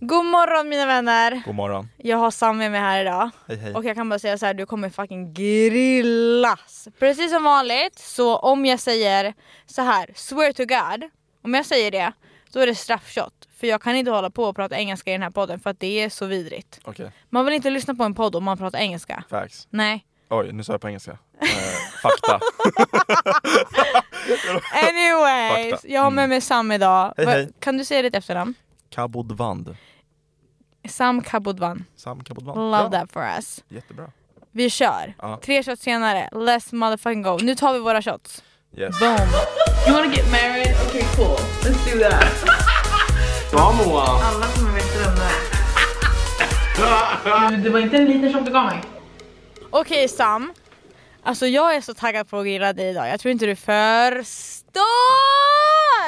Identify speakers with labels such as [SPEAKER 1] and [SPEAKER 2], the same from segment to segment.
[SPEAKER 1] God morgon mina vänner!
[SPEAKER 2] God morgon.
[SPEAKER 1] Jag har Sam med mig här idag.
[SPEAKER 2] Hej hej.
[SPEAKER 1] Och jag kan bara säga så här, du kommer fucking grillas! Precis som vanligt, så om jag säger så här, swear to god, om jag säger det, då är det straffshot. För jag kan inte hålla på och prata engelska i den här podden för att det är så vidrigt.
[SPEAKER 2] Okej,
[SPEAKER 1] Man vill inte lyssna på en podd om man pratar engelska.
[SPEAKER 2] facts.
[SPEAKER 1] Nej.
[SPEAKER 2] Oj, nu sa jag på engelska. Eh, fakta.
[SPEAKER 1] Anyways,
[SPEAKER 2] Fakta.
[SPEAKER 1] jag har med mig Sam idag.
[SPEAKER 2] Mm. Hej,
[SPEAKER 1] Va-
[SPEAKER 2] hej.
[SPEAKER 1] Kan du säga ditt efternamn?
[SPEAKER 2] Kabodvand.
[SPEAKER 1] Sam Kabodvan.
[SPEAKER 2] Sam Kabodvand.
[SPEAKER 1] Love
[SPEAKER 2] Ja,
[SPEAKER 1] that for us.
[SPEAKER 2] Jättebra.
[SPEAKER 1] Vi kör!
[SPEAKER 2] Ja.
[SPEAKER 1] Tre shots senare, let's motherfucking go. Nu tar vi våra shots.
[SPEAKER 2] Yes.
[SPEAKER 1] Boom!
[SPEAKER 3] You wanna get married? Okay, cool. Let's do that. Alla kommer veta vem det är. Det var inte en liten shot du gav mig.
[SPEAKER 1] Okej Sam, alltså jag är så taggad på att grilla dig idag. Jag tror inte du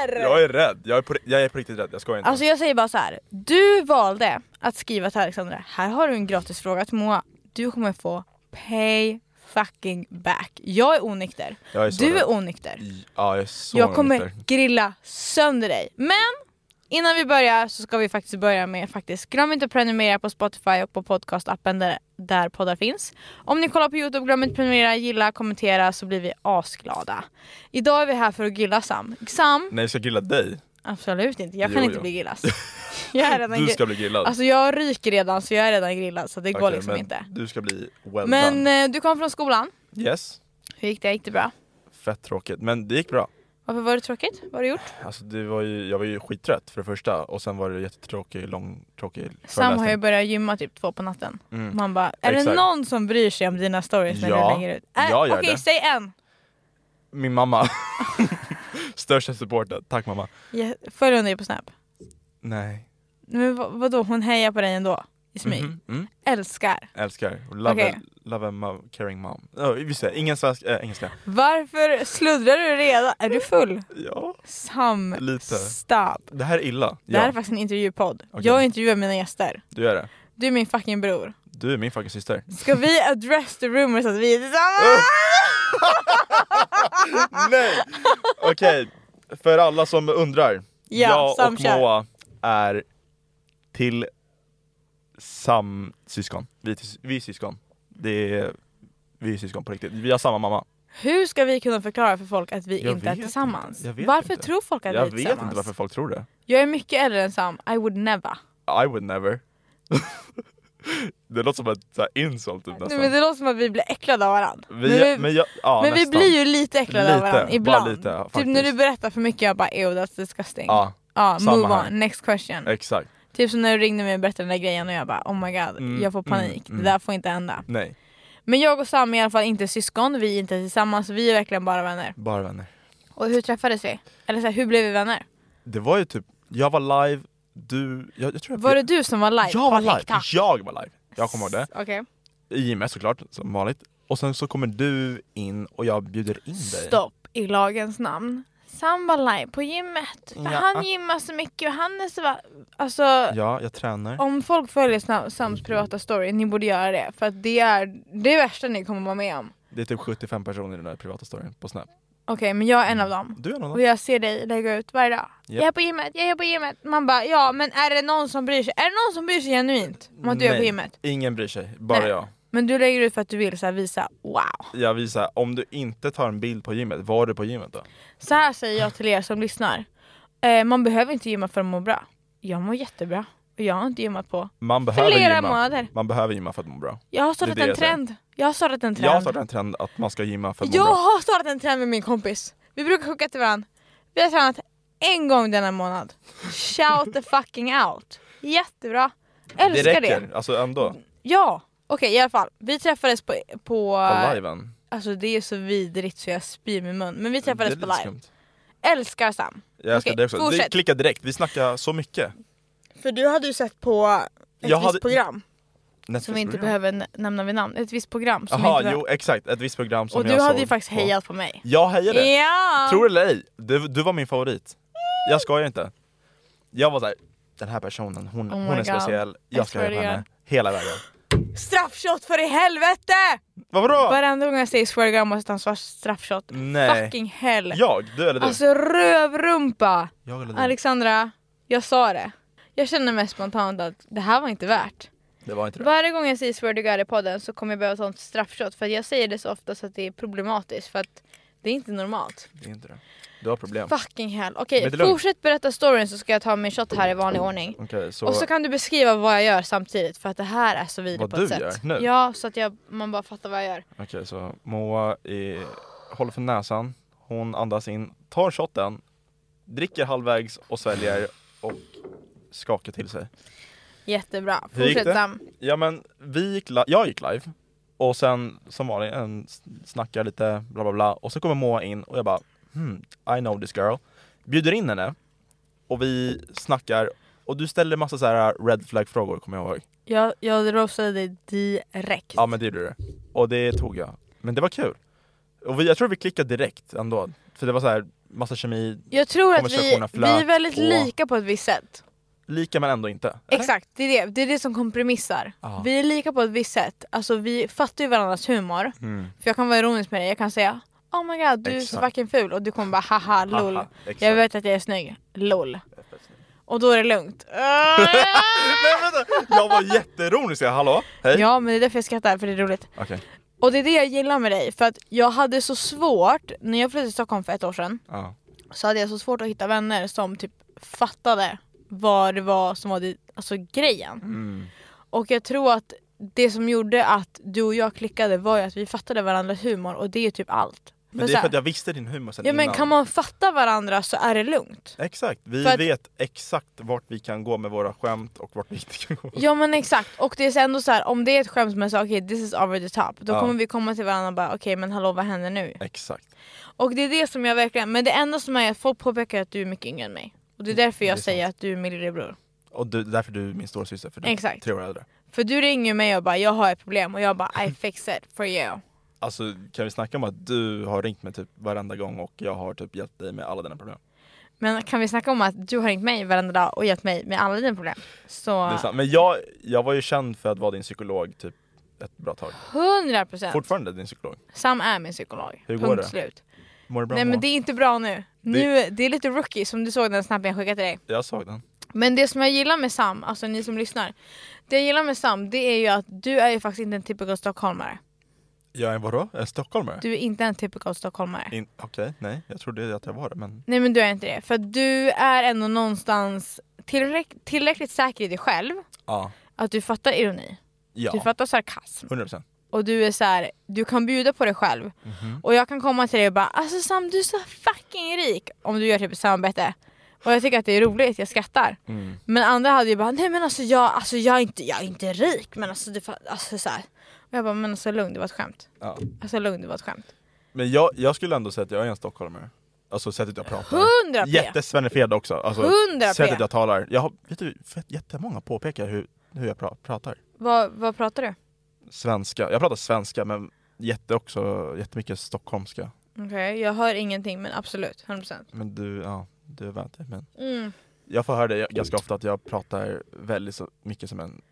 [SPEAKER 1] förstår!
[SPEAKER 2] Jag är rädd. Jag är, på, jag är på riktigt rädd. Jag skojar inte.
[SPEAKER 1] Alltså jag säger bara så här. du valde att skriva till Alexandra, här har du en gratis fråga till Moa. Du kommer få pay fucking back. Jag är onykter,
[SPEAKER 2] Jag är så
[SPEAKER 1] du
[SPEAKER 2] rädd.
[SPEAKER 1] är onykter.
[SPEAKER 2] ja, jag är så
[SPEAKER 1] jag kommer
[SPEAKER 2] onykter.
[SPEAKER 1] grilla sönder dig. Men innan vi börjar så ska vi faktiskt börja med faktiskt glöm inte att prenumerera på Spotify och på podcastappen där, där poddar finns. Om ni kollar på Youtube glöm inte att prenumerera, gilla, kommentera så blir vi asglada. Idag är vi här för att grilla Sam. Sam,
[SPEAKER 2] Nej, jag ska grilla dig.
[SPEAKER 1] absolut inte. Jag kan
[SPEAKER 2] Jo,
[SPEAKER 1] inte
[SPEAKER 2] jo.
[SPEAKER 1] bli grillad. Jag är redan
[SPEAKER 2] Du ska
[SPEAKER 1] grillad.
[SPEAKER 2] bli grillad.
[SPEAKER 1] Alltså jag ryker redan så jag är redan grillad så det går
[SPEAKER 2] Okej,
[SPEAKER 1] liksom
[SPEAKER 2] men
[SPEAKER 1] inte.
[SPEAKER 2] Du ska bli well
[SPEAKER 1] Men
[SPEAKER 2] done.
[SPEAKER 1] eh, du kom från skolan.
[SPEAKER 2] Yes.
[SPEAKER 1] Hur gick det? Gick det bra?
[SPEAKER 2] Fett tråkigt. Men det gick bra.
[SPEAKER 1] Varför var det tråkigt? Vad har du gjort?
[SPEAKER 2] Alltså, det var ju, jag var ju skittrött för det första och sen var det jättetråkig, lång, tråkig
[SPEAKER 1] Sam har ju
[SPEAKER 2] föreläsning.
[SPEAKER 1] börjat gymma typ två på natten.
[SPEAKER 2] Mm.
[SPEAKER 1] Man bara, är det
[SPEAKER 2] Exakt.
[SPEAKER 1] någon som bryr sig om dina stories när
[SPEAKER 2] Ja,
[SPEAKER 1] du lägger ut? Äh,
[SPEAKER 2] jag gör
[SPEAKER 1] Okej,
[SPEAKER 2] det.
[SPEAKER 1] säg en!
[SPEAKER 2] Min mamma. Största supporten. Tack mamma.
[SPEAKER 1] Ja, Följer hon dig på Snap?
[SPEAKER 2] Nej.
[SPEAKER 1] Men vad, vadå, hon hejar på dig ändå? I smyg?
[SPEAKER 2] Mhm. Mm.
[SPEAKER 1] Älskar!
[SPEAKER 2] Älskar. Love,
[SPEAKER 1] Okej.
[SPEAKER 2] a, love a mo- caring mom. Oh, visst är det. ingen svensk, eh, engelska.
[SPEAKER 1] Varför sluddrar du redan? Är du full?
[SPEAKER 2] Ja.
[SPEAKER 1] Sam,
[SPEAKER 2] Lite.
[SPEAKER 1] stop!
[SPEAKER 2] Det här är illa.
[SPEAKER 1] Det här
[SPEAKER 2] Ja,
[SPEAKER 1] är faktiskt en intervjupodd.
[SPEAKER 2] Okej.
[SPEAKER 1] Jag intervjuar mina gäster.
[SPEAKER 2] du gör det.
[SPEAKER 1] Du är min fucking bror.
[SPEAKER 2] Du är min fucking syster.
[SPEAKER 1] Ska vi address the rumors att vi är tillsammans?
[SPEAKER 2] Nej! Okej, för alla som undrar.
[SPEAKER 1] Ja,
[SPEAKER 2] jag
[SPEAKER 1] Sam
[SPEAKER 2] och
[SPEAKER 1] kör.
[SPEAKER 2] Moa är till sam syskon. Vi är, till, vi är syskon. Det är, vi är syskon på riktigt. Vi har samma mamma.
[SPEAKER 1] Hur ska vi kunna förklara för folk att vi
[SPEAKER 2] Jag
[SPEAKER 1] inte är
[SPEAKER 2] vet
[SPEAKER 1] tillsammans?
[SPEAKER 2] inte. Jag vet
[SPEAKER 1] Varför
[SPEAKER 2] inte.
[SPEAKER 1] tror folk att vi
[SPEAKER 2] Jag
[SPEAKER 1] är
[SPEAKER 2] vet
[SPEAKER 1] tillsammans?
[SPEAKER 2] inte varför folk tror det.
[SPEAKER 1] Jag är mycket äldre än Sam, I would never.
[SPEAKER 2] I would never. det låter som ett så här, insult typ
[SPEAKER 1] Nej,
[SPEAKER 2] nästan.
[SPEAKER 1] men det låter som att vi blir äcklade av varandra.
[SPEAKER 2] Vi,
[SPEAKER 1] men vi,
[SPEAKER 2] men jag, ja,
[SPEAKER 1] men vi
[SPEAKER 2] nästan.
[SPEAKER 1] blir ju lite äcklade av
[SPEAKER 2] Lite,
[SPEAKER 1] varandra
[SPEAKER 2] bara
[SPEAKER 1] ibland.
[SPEAKER 2] lite, ja,
[SPEAKER 1] typ
[SPEAKER 2] faktiskt.
[SPEAKER 1] när du berättar för mycket, jag bara ew that's disgusting.
[SPEAKER 2] Ja,
[SPEAKER 1] Ja,
[SPEAKER 2] samma
[SPEAKER 1] move
[SPEAKER 2] här.
[SPEAKER 1] on, next question.
[SPEAKER 2] exakt.
[SPEAKER 1] typ som när du ringde mig och berättade den där grejen och jag bara oh my god,
[SPEAKER 2] Mm,
[SPEAKER 1] jag får
[SPEAKER 2] mm,
[SPEAKER 1] panik.
[SPEAKER 2] mm.
[SPEAKER 1] Det där får inte hända.
[SPEAKER 2] Nej,
[SPEAKER 1] Men jag och Sam är i alla fall inte syskon, vi är inte tillsammans, vi är verkligen bara vänner.
[SPEAKER 2] bara vänner.
[SPEAKER 1] Och hur träffades vi? Eller så här, hur blev vi vänner?
[SPEAKER 2] Det var ju typ, jag var live, du, jag, jag tror jag
[SPEAKER 1] Var det du som var live?
[SPEAKER 2] Jag var
[SPEAKER 1] på
[SPEAKER 2] live!
[SPEAKER 1] TikTok?
[SPEAKER 2] Jag var live! Jag kommer ihåg det.
[SPEAKER 1] Okej.
[SPEAKER 2] I IMS såklart, som vanligt. Och sen så kommer du in och jag bjuder in dig.
[SPEAKER 1] Stopp i lagens namn. Sam var live på gymmet. För
[SPEAKER 2] Ja.
[SPEAKER 1] Han gymmar så mycket och han är så va- Alltså
[SPEAKER 2] Ja, jag tränar.
[SPEAKER 1] om folk följer Sam- Sams privata story, ni borde göra det. För att det är det värsta ni kommer vara med om.
[SPEAKER 2] Det är typ 75 personer i den där privata storyn på Snap.
[SPEAKER 1] Okej men jag är en av dem.
[SPEAKER 2] Du är någon av
[SPEAKER 1] Och jag ser dig lägga ut varje dag.
[SPEAKER 2] Japp.
[SPEAKER 1] Jag är på gymmet, jag är på gymmet. Man bara ja men är det någon som bryr sig? Är det någon som bryr sig genuint om att du är på
[SPEAKER 2] Nej,
[SPEAKER 1] gymmet?
[SPEAKER 2] Ingen bryr sig, bara
[SPEAKER 1] Nej.
[SPEAKER 2] jag.
[SPEAKER 1] Men du lägger ut för att du vill så här, visa wow.
[SPEAKER 2] Jag visar, om du inte tar en bild på gymmet, var du på gymmet då?
[SPEAKER 1] Så här säger jag till er som lyssnar. Eh, man behöver inte gymma för att må bra. Jag mår jättebra. Och jag har inte gymmat på
[SPEAKER 2] Man behöver
[SPEAKER 1] flera
[SPEAKER 2] gymma.
[SPEAKER 1] månader.
[SPEAKER 2] Man behöver gymma för att må bra.
[SPEAKER 1] Jag har
[SPEAKER 2] Det
[SPEAKER 1] startat
[SPEAKER 2] är det
[SPEAKER 1] en
[SPEAKER 2] jag säger.
[SPEAKER 1] trend. Jag har startat en trend.
[SPEAKER 2] Jag har startat en trend att man ska gymma för att
[SPEAKER 1] Jag
[SPEAKER 2] må bra.
[SPEAKER 1] har startat en trend med min kompis. Vi brukar skicka till varandra. Vi har tränat en gång denna månad. Shout the fucking out. Jättebra. Älskar
[SPEAKER 2] det
[SPEAKER 1] det. Mm.
[SPEAKER 2] räcker, alltså ändå.
[SPEAKER 1] Ja. Okej i alla fall. Vi träffades på... på
[SPEAKER 2] På liven.
[SPEAKER 1] alltså det är så vidrigt så jag spyr i min mun. Men vi
[SPEAKER 2] Det är
[SPEAKER 1] träffades
[SPEAKER 2] lite
[SPEAKER 1] på live.
[SPEAKER 2] skumt.
[SPEAKER 1] älskar Sam.
[SPEAKER 2] Jag älskar
[SPEAKER 1] Okej,
[SPEAKER 2] dig också.
[SPEAKER 1] fortsätt.
[SPEAKER 2] Vi klickar direkt, vi snackar så mycket.
[SPEAKER 4] För du hade ju sett på ett
[SPEAKER 2] Jag
[SPEAKER 4] visst
[SPEAKER 2] hade-
[SPEAKER 4] program.
[SPEAKER 1] Som vi inte behöver nä- nämna vid namn. Ett visst program. Som vi
[SPEAKER 2] Jaha,
[SPEAKER 1] inte
[SPEAKER 2] jo exakt. Ett visst program som
[SPEAKER 1] och
[SPEAKER 2] jag
[SPEAKER 1] du hade
[SPEAKER 2] såg
[SPEAKER 1] ju faktiskt
[SPEAKER 2] på.
[SPEAKER 1] hejat på mig.
[SPEAKER 2] Jag hejade!
[SPEAKER 1] Ja!
[SPEAKER 2] Tror det eller ej, du, du var min favorit. Jag skojar inte. Jag var såhär, den här personen, hon,
[SPEAKER 1] Oh my
[SPEAKER 2] hon är
[SPEAKER 1] God.
[SPEAKER 2] speciell, jag
[SPEAKER 1] Jag
[SPEAKER 2] ska
[SPEAKER 1] swear
[SPEAKER 2] hjälpa
[SPEAKER 1] to
[SPEAKER 2] henne hela vägen.
[SPEAKER 1] Straffshot för i helvete!
[SPEAKER 2] Vad Vadå?
[SPEAKER 1] Varenda gång jag säger swear to God måste han svara straffshot.
[SPEAKER 2] Nej.
[SPEAKER 1] Fucking hell.
[SPEAKER 2] Jag? Du eller du?
[SPEAKER 1] Alltså rövrumpa!
[SPEAKER 2] jag eller du?
[SPEAKER 1] Alexandra, jag sa det. Jag känner mest spontant att det här var inte värt.
[SPEAKER 2] Det var inte det.
[SPEAKER 1] Varje gång jag säger swear to God i podden så kommer jag behöva ta en straffshot för att jag säger det så ofta så att det är problematiskt för att det är inte normalt.
[SPEAKER 2] det, är inte det. Du har problem.
[SPEAKER 1] Fucking hell. Okej,
[SPEAKER 2] Men det är lugnt.
[SPEAKER 1] fortsätt berätta storyn så ska jag ta min shot här i vanlig ordning.
[SPEAKER 2] Okej, så...
[SPEAKER 1] Och så kan du beskriva vad jag gör samtidigt för att det här är så vidrigt
[SPEAKER 2] Vad
[SPEAKER 1] på ett
[SPEAKER 2] du
[SPEAKER 1] sätt.
[SPEAKER 2] gör nu?
[SPEAKER 1] Ja, så att jag, man bara fattar vad jag gör.
[SPEAKER 2] Okej, så Moa är, håller för näsan, hon andas in, tar shotten, dricker halvvägs och sväljer och skakar till sig.
[SPEAKER 1] Jättebra.
[SPEAKER 2] Hur gick det?
[SPEAKER 1] Fortsätt Sam.
[SPEAKER 2] Ja men vi gick li- jag gick live och sen som vanligt en s- snackar lite bla bla bla och så kommer Moa in och jag bara hmm, I know this girl. Bjuder in henne och vi snackar och du ställer massa så här red flag frågor kommer jag ihåg.
[SPEAKER 1] Jag, jag roastade dig direkt.
[SPEAKER 2] Ja men det gjorde du. Och det tog jag. Men det var kul. Och vi, jag tror vi klickade direkt ändå. För det var så här massa kemi,
[SPEAKER 1] jag tror att vi,
[SPEAKER 2] konversationen
[SPEAKER 1] vi
[SPEAKER 2] flöt
[SPEAKER 1] är väldigt
[SPEAKER 2] på.
[SPEAKER 1] lika på ett visst sätt.
[SPEAKER 2] lika men ändå inte. Eller?
[SPEAKER 1] Exakt, det är det, det, är det som kompromissar.
[SPEAKER 2] Ja.
[SPEAKER 1] Vi är lika på ett visst sätt. Alltså vi fattar ju varandras humor.
[SPEAKER 2] Mm.
[SPEAKER 1] För jag kan vara ironisk med dig, jag kan säga Oh my god, du är så
[SPEAKER 2] Exakt.
[SPEAKER 1] fucking ful och du kommer bara haha lol.
[SPEAKER 2] Haha, exakt.
[SPEAKER 1] jag vet att jag är snygg, lol. Och då är det lugnt.
[SPEAKER 2] Nej, vänta. Jag var jätteironisk, jag hallå, hej.
[SPEAKER 1] ja men det är därför jag skrattar, för det är roligt.
[SPEAKER 2] Okej,
[SPEAKER 1] Och det är det jag gillar med dig, för att jag hade så svårt, när jag flyttade till Stockholm för ett år sedan,
[SPEAKER 2] ja.
[SPEAKER 1] så hade jag så svårt att hitta vänner som typ fattade vad det var som var det, alltså, grejen.
[SPEAKER 2] Mm.
[SPEAKER 1] Och jag tror att det som gjorde att du och jag klickade var ju att vi fattade varandras humor och det är typ allt.
[SPEAKER 2] Men det
[SPEAKER 1] så
[SPEAKER 2] är
[SPEAKER 1] här-
[SPEAKER 2] för att jag visste din humor sen
[SPEAKER 1] ja men
[SPEAKER 2] innan.
[SPEAKER 1] kan man fatta varandra så är det lugnt.
[SPEAKER 2] Exakt, vi
[SPEAKER 1] För att-
[SPEAKER 2] vet exakt vart vi kan gå med våra skämt och vart vi inte kan gå.
[SPEAKER 1] Ja men exakt, och det är så ändå så här, om det är ett skämt som jag sa okej this is over the top, då
[SPEAKER 2] Ja.
[SPEAKER 1] kommer vi komma till varandra och bara okej men hallå vad händer nu?
[SPEAKER 2] Exakt.
[SPEAKER 1] Och det är det som jag verkligen, men det enda som är att folk påpekar att du är mycket yngre än mig. Och det är därför jag
[SPEAKER 2] Mm, det är
[SPEAKER 1] säger att du är min lillebror.
[SPEAKER 2] Och du, därför du är min storasyster, för du är
[SPEAKER 1] Exakt.
[SPEAKER 2] tre år äldre.
[SPEAKER 1] För du ringer mig och bara jag har ett problem och jag bara I fix it for you.
[SPEAKER 2] Alltså kan vi snacka om att du har ringt mig typ varenda gång och jag har typ hjälpt dig med alla dina problem.
[SPEAKER 1] Men kan vi snacka om att du har ringt mig varenda dag och hjälpt mig med alla dina problem?
[SPEAKER 2] Det är
[SPEAKER 1] Så
[SPEAKER 2] sant. Men jag, jag var ju känd för att vara din psykolog typ ett bra tag.
[SPEAKER 1] 100%
[SPEAKER 2] Fortfarande din psykolog.
[SPEAKER 1] Sam är min psykolog.
[SPEAKER 2] Hur går
[SPEAKER 1] Punkt
[SPEAKER 2] det?
[SPEAKER 1] slut.
[SPEAKER 2] Mår du bra
[SPEAKER 1] Nej men
[SPEAKER 2] Moa?
[SPEAKER 1] det är inte bra nu. nu. Det är lite rookie som du såg den snappen jag skickade till dig.
[SPEAKER 2] Jag såg den.
[SPEAKER 1] Men det som jag gillar med Sam, alltså ni som lyssnar. Det jag gillar med Sam det är ju att du är ju faktiskt inte en typical stockholmare.
[SPEAKER 2] Jag är vadå? En stockholmare?
[SPEAKER 1] Du är inte en typical stockholmare.
[SPEAKER 2] In- Okej, nej. Jag trodde att jag var det men
[SPEAKER 1] Nej men du är inte det. För att du är ändå någonstans tillräck tillräckligt säker i dig själv
[SPEAKER 2] ja.
[SPEAKER 1] att du fattar ironi. Du
[SPEAKER 2] Ja,
[SPEAKER 1] fattar sarkasm.
[SPEAKER 2] 100%.
[SPEAKER 1] Och du är så här, du kan bjuda på dig själv. Och jag kan komma till dig och bara alltså Sam du är så fucking rik. Om du gör typ ett samarbete. Och jag tycker att det är roligt, jag skrattar. Men andra hade ju bara nej men alltså jag, alltså, jag, är, inte, jag är inte rik men alltså du fa- alltså så här. Och jag bara men alltså lugn det var ett skämt.
[SPEAKER 2] Ja.
[SPEAKER 1] Alltså lugn det var ett skämt.
[SPEAKER 2] Men jag, jag skulle ändå säga att jag är en stockholmare. Alltså sättet jag pratar.
[SPEAKER 1] 100 p!
[SPEAKER 2] Jättesvennefed också. Alltså,
[SPEAKER 1] 100p.
[SPEAKER 2] Sättet jag talar. Jag har, vet du, fett- jättemånga påpekar hur, hur jag pra- pratar.
[SPEAKER 1] Vad, vad pratar du?
[SPEAKER 2] Svenska. Jag pratar svenska men jätte också, jättemycket stockholmska.
[SPEAKER 1] Okej jag hör ingenting men absolut 100%.
[SPEAKER 2] Men du, ja, du är vän till men
[SPEAKER 1] Mm.
[SPEAKER 2] Jag får höra det ganska ofta att jag pratar väldigt så mycket som en